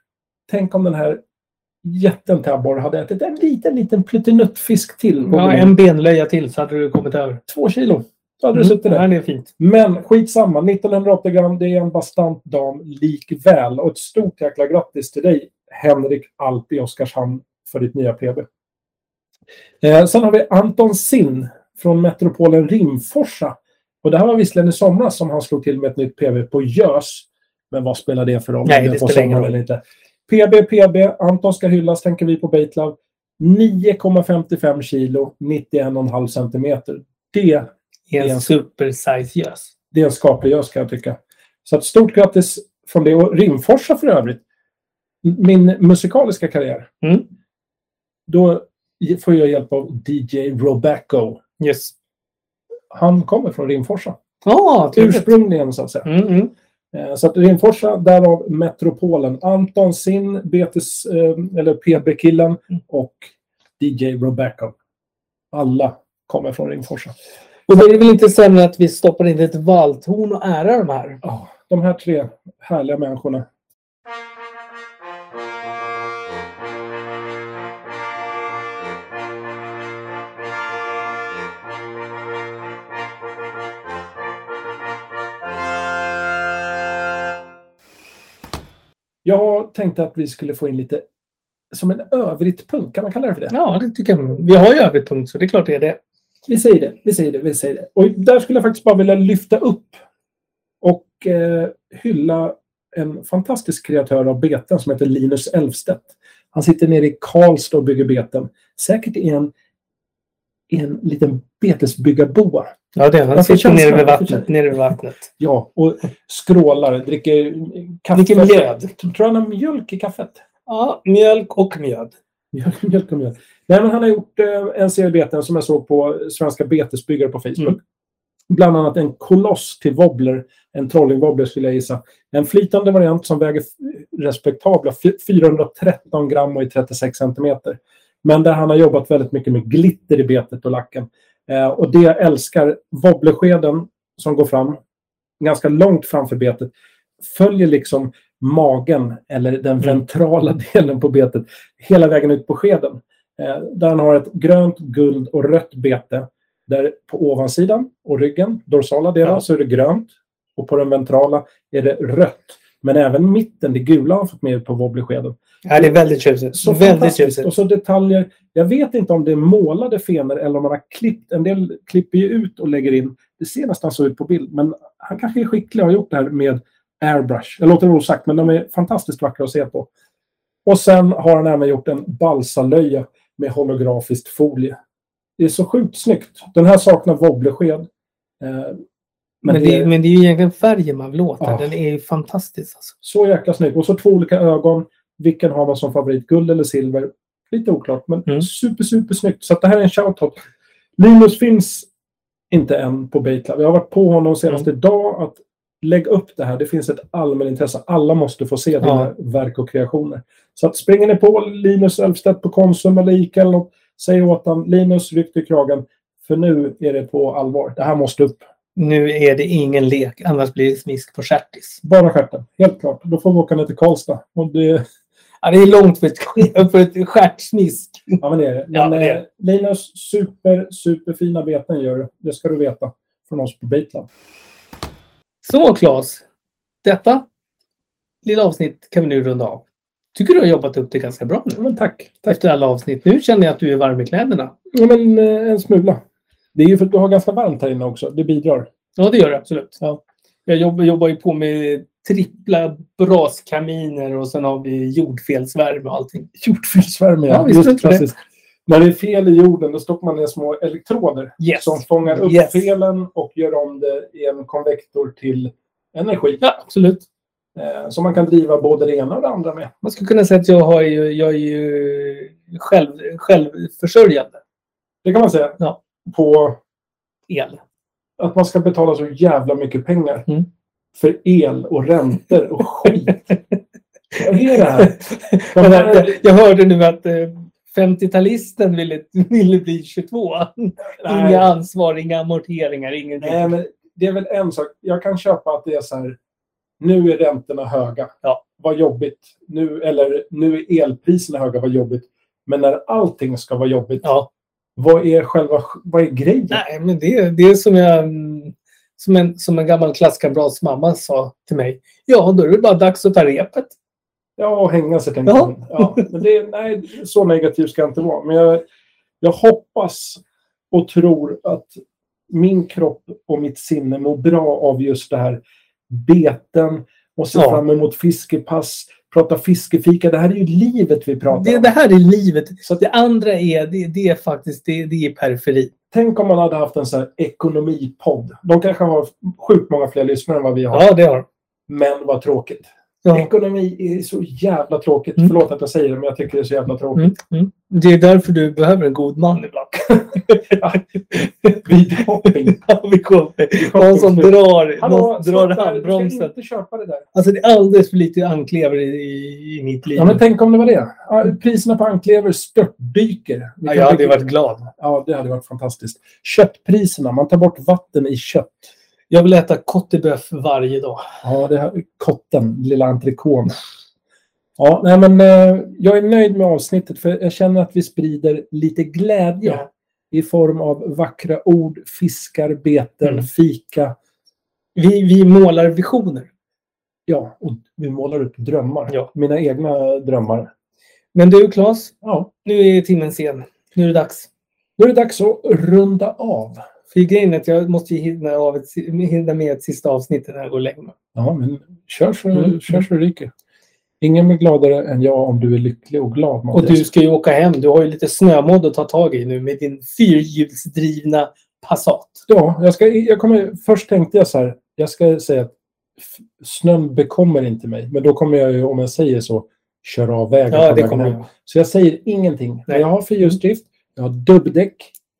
Tänk om den här jätten till abborre hade ätit en liten, liten pluttinuttfisk till. på
Ja,
menyn.
en benlöja till så hade du kommit över.
Två kilo. Då hade du suttit
Ja,
där.
Mm. det är fint.
Men skitsamma, 1980 gram, det är en bastant dam likväl. Och ett stort jäkla grattis till dig, Henrik Alp i Oskarshamn, för ditt nya PB. Eh, sen har vi Anton Sinn från metropolen Rimforsa. Och det här var visserligen i somras som han slog till med ett nytt PB på Gös. Men vad spelar det för roll? om
Nej,
är
det
på
spelar ingen
sommaren
roll.
eller inte? PB, PB, Anton ska hyllas, tänker vi på Beitlove. 9,55 kilo, 91,5 centimeter. Det
I en
Ja.
supersize gös.
det är en skaplig gös kan jag tycka. Så att stort grattis från det och Rimforsa för övrigt. M- Min musikaliska karriär.
Mm.
Då i- får jag hjälp av DJ Robacco.
Yes.
Han kommer från Rimforsa.
Ja, trevligt.
Ursprungligen så att säga.
Mm, mm.
Eh, Så att Rimforsa, därav metropolen. Anton Sin, Betis, eh, eller PB-killen
Mm.
och DJ Robacco. Alla kommer från Rimforsa.
Och då är det väl inte sämre att vi stoppar in ett valthorn och ärar de här?
Ja, de här tre härliga människorna. Jag tänkte att vi skulle få in lite som en övrigt punkt. Kan man kalla det för det?
Ja, det tycker jag. Vi har ju övrigt punkt, så det är klart det är det.
Vi säger det, vi säger det, vi säger det. Och där skulle jag faktiskt bara vilja lyfta upp och eh, hylla en fantastisk kreatör av beten som heter Linus Elfstedt. Han sitter nere i Karlstad och bygger beten. Säkert i en en liten betesbyggarboa.
Ja, det är han. Han sitter
Varför känns
nere
det?
vid
Varför
vattnet. Nere vid vattnet.
Ja, och skrålar, dricker kaffe.
Dricker mjöd.
Tror han har mjölk i kaffet?
Ja, mjölk och mjöd.
Mjölk, mjölk och mjöd. Nej, men han har gjort eh, en serie beten som jag såg på Svenska betesbyggare på Facebook.
Mm.
Bland annat en koloss till wobbler, en trollingwobbler skulle jag gissa. En flytande variant som väger f- respektabla fy- 413 gram och är 36 centimeter. Men där han har jobbat väldigt mycket med glitter i betet och lacken. Eh, och det jag älskar, wobbleskeden som går fram, ganska långt framför betet, följer liksom magen eller den ventrala delen på betet hela vägen ut på skeden. Eh, där han har ett grönt, guld och rött bete. Där på ovansidan och ryggen, dorsala delen,
Ja.
så är det grönt. Och på den ventrala är det rött. Men även mitten, det gula, har han fått med på wobbleskeden.
Ja, det är väldigt tjusigt.
Så
väldigt
fantastiskt.
tjusigt.
Och så detaljer. Jag vet inte om det är målade fenor eller om man har klippt. En del klipper ju ut och lägger in. Det ser nästan så ut på bild. Men han kanske är skicklig och har gjort det här med airbrush. Jag låter det vara osagt, men de är fantastiskt vackra att se på. Och sen har han även gjort en balsalöja med holografiskt folie. Det är så sjukt snyggt. Den här saknar wobblesked. Eh, men
Men
det är
det, men det är ju egentligen färgen man vill åt.
Ja.
Den är ju fantastisk. Alltså.
så jäkla snyggt. Och så två olika ögon. Vilken har man som favorit? Guld eller silver? Lite oklart, men
Mm.
super, super snyggt. Så att det här är en shoutout. Linus finns inte än på Baitlab. Jag har varit på honom senast idag att lägg upp det här. Det finns ett allmänintresse. Alla måste få se dina verk och kreationer. Så att springer ni på Linus Elfstedt på Konsum eller Ica eller något, säg åt honom Linus, ryck i kragen. För nu är det på allvar. Det här måste upp.
Nu är det ingen lek, annars blir det smisk på stjärtis.
Bara stjärten. Helt klart. Då får vi åka ner till Karlstad. Och det...
Ja, det är långt för ett, för ett stjärtsmisk.
Ja, men det är det. Men,
Ja, det är det.
eh, Linus, super, superfina beten gör du. Det ska du veta från oss på Baitlab.
Så Claes, detta lilla avsnitt kan vi nu runda av. Tycker du har jobbat upp det ganska bra
Ja,
nu?
men tack. tack.
Efter alla avsnitt. Nu känner jag att du är varm i kläderna.
Ja, men, eh, en smula. Det är ju för att du har ganska varmt här inne också. Det bidrar.
Ja, det gör det absolut.
Ja.
Jag jobb, jobbar ju på med trippla braskaminer och sen har vi jordfelsvärme och allting.
Jordfelsvärme,
Ja, visst vet du det.
När det är fel i jorden då stoppar man ner små elektroder
Yes.
som fångar upp
Yes.
felen och gör om det i en konvektor till energi.
Ja, absolut.
Eh, som man kan driva både det ena och det andra med.
Man skulle kunna säga att jag, har ju, jag är ju själv, självförsörjande
Det kan man säga.
Ja.
På
el.
att man ska betala så jävla mycket pengar
Mm.
för el och räntor och skit. Vad är det här? De
Men
här
jag, jag hörde nu att eh, 50-talisten ville, ville bli 22.
nej,
Inga ansvar, inga amorteringar, ingenting.
nej, men det är väl en sak. Jag kan köpa att det är så här. Nu är räntorna höga.
Ja.
Vad jobbigt. Nu, eller nu är elpriserna höga. Vad jobbigt. Men när allting ska vara jobbigt.
Ja.
Vad är själva vad är grejen?
Nej, men det, det är som, jag, mm, som, en, som en gammal klasskamrats mamma sa till mig. Ja, då är det bara dags att ta repet.
Ja, och hänga sig tänkte
Ja.
man. Ja, men det, nej, så negativ ska jag inte vara. Men jag, jag hoppas och tror att min kropp och mitt sinne mår bra av just det här beten och se
Ja.
fram emot fiskepass, prata fiskefika. Det här är ju livet vi pratar
Det,
om.
det här är livet.
Så att,
Det andra är, det, det är faktiskt det, det är periferi.
tänk om man hade haft en sån här ekonomipodd. De kanske har sjukt många fler lyssnare än vad vi har.
Ja, det har
Men vad tråkigt.
ja.
Ekonomi är så jävla tråkigt.
Mm.
Förlåt att jag säger det, men jag tycker det är så jävla tråkigt.
mm, mm. Det är därför du behöver en god man ibland. Mm.
Videohopping.
Ja, vi kommer. Någon som drar,
Hallå,
någon som drar
sluta. Du ska
handbromsen.
inte köpa det där.
Alltså det är alldeles för lite anklever i, i, i mitt liv.
Ja, men tänk om det var det. Ja, Priserna på anklever störtdyker. Vi
Ja,
kan
jag hade ju
tänka-
varit glad.
Ja, det hade varit fantastiskt. Köttpriserna. Man tar bort vatten i kött.
Jag vill äta kotteböff varje dag.
Ja, det här, kotten. Lilla entrecôten. Ja, nej, men eh, jag är nöjd med avsnittet för jag känner att vi sprider lite glädje
Ja.
i form av vackra ord, fiskar, beten,
Mm.
fika.
Vi, vi målar visioner.
Ja, och vi målar upp drömmar.
Ja.
Mina egna drömmar.
Men du Claes,
Ja,
nu är timmen sen. Nu är det dags.
nu är det dags att runda av.
För grejen är att jag måste ju hinna, av ett, hinna med ett sista avsnitt innan jag går längre.
Ja, men kör så,
Mm.
kör så det ryker. Ingen blir gladare än jag om du är lycklig och glad,
Och du ska ju åka hem. Du har ju lite snömodd att ta tag i nu med din fyrhjulsdrivna Passat.
Ja, jag ska, jag kommer, först tänkte jag så här, jag ska säga att f- snön bekommer inte mig. Men då kommer jag ju, om jag säger så, köra av vägen.
Ja,
på
det
vägen
kommer
hem.
jag.
Så jag säger ingenting.
Nej.
Jag har fyrhjulsdrift, jag har dubbdäck,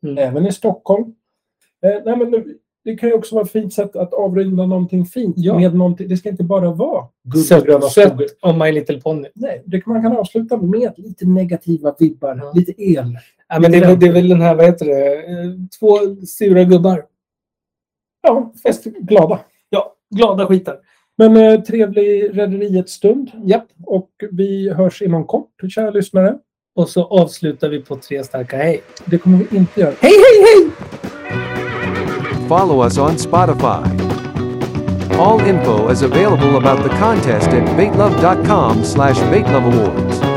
Mm.
även i Stockholm. Eh, nej, men nu, det kan ju också vara ett fint sätt att avrunda någonting fint.
Ja.
Med någonting, det ska inte bara vara guld och gröna
Sött, sött
skogar.
om My Little Pony.
Nej, det, man kan avsluta med lite negativa vibbar,
Ja.
lite el.
Ja, men det, är väl- det är väl den här, vad heter det, Eh, två sura gubbar.
Ja, fast glada.
Ja, glada skitar.
Men eh, trevlig Rederiet-stund.
Japp.
Och vi hörs inom kort, kära lyssnare.
Och så avslutar vi på tre starka hej.
Det kommer vi inte göra.
Hej, hej, hej!
Follow us on Spotify. All info is available about the contest at baitlove.com slash baitloveawards.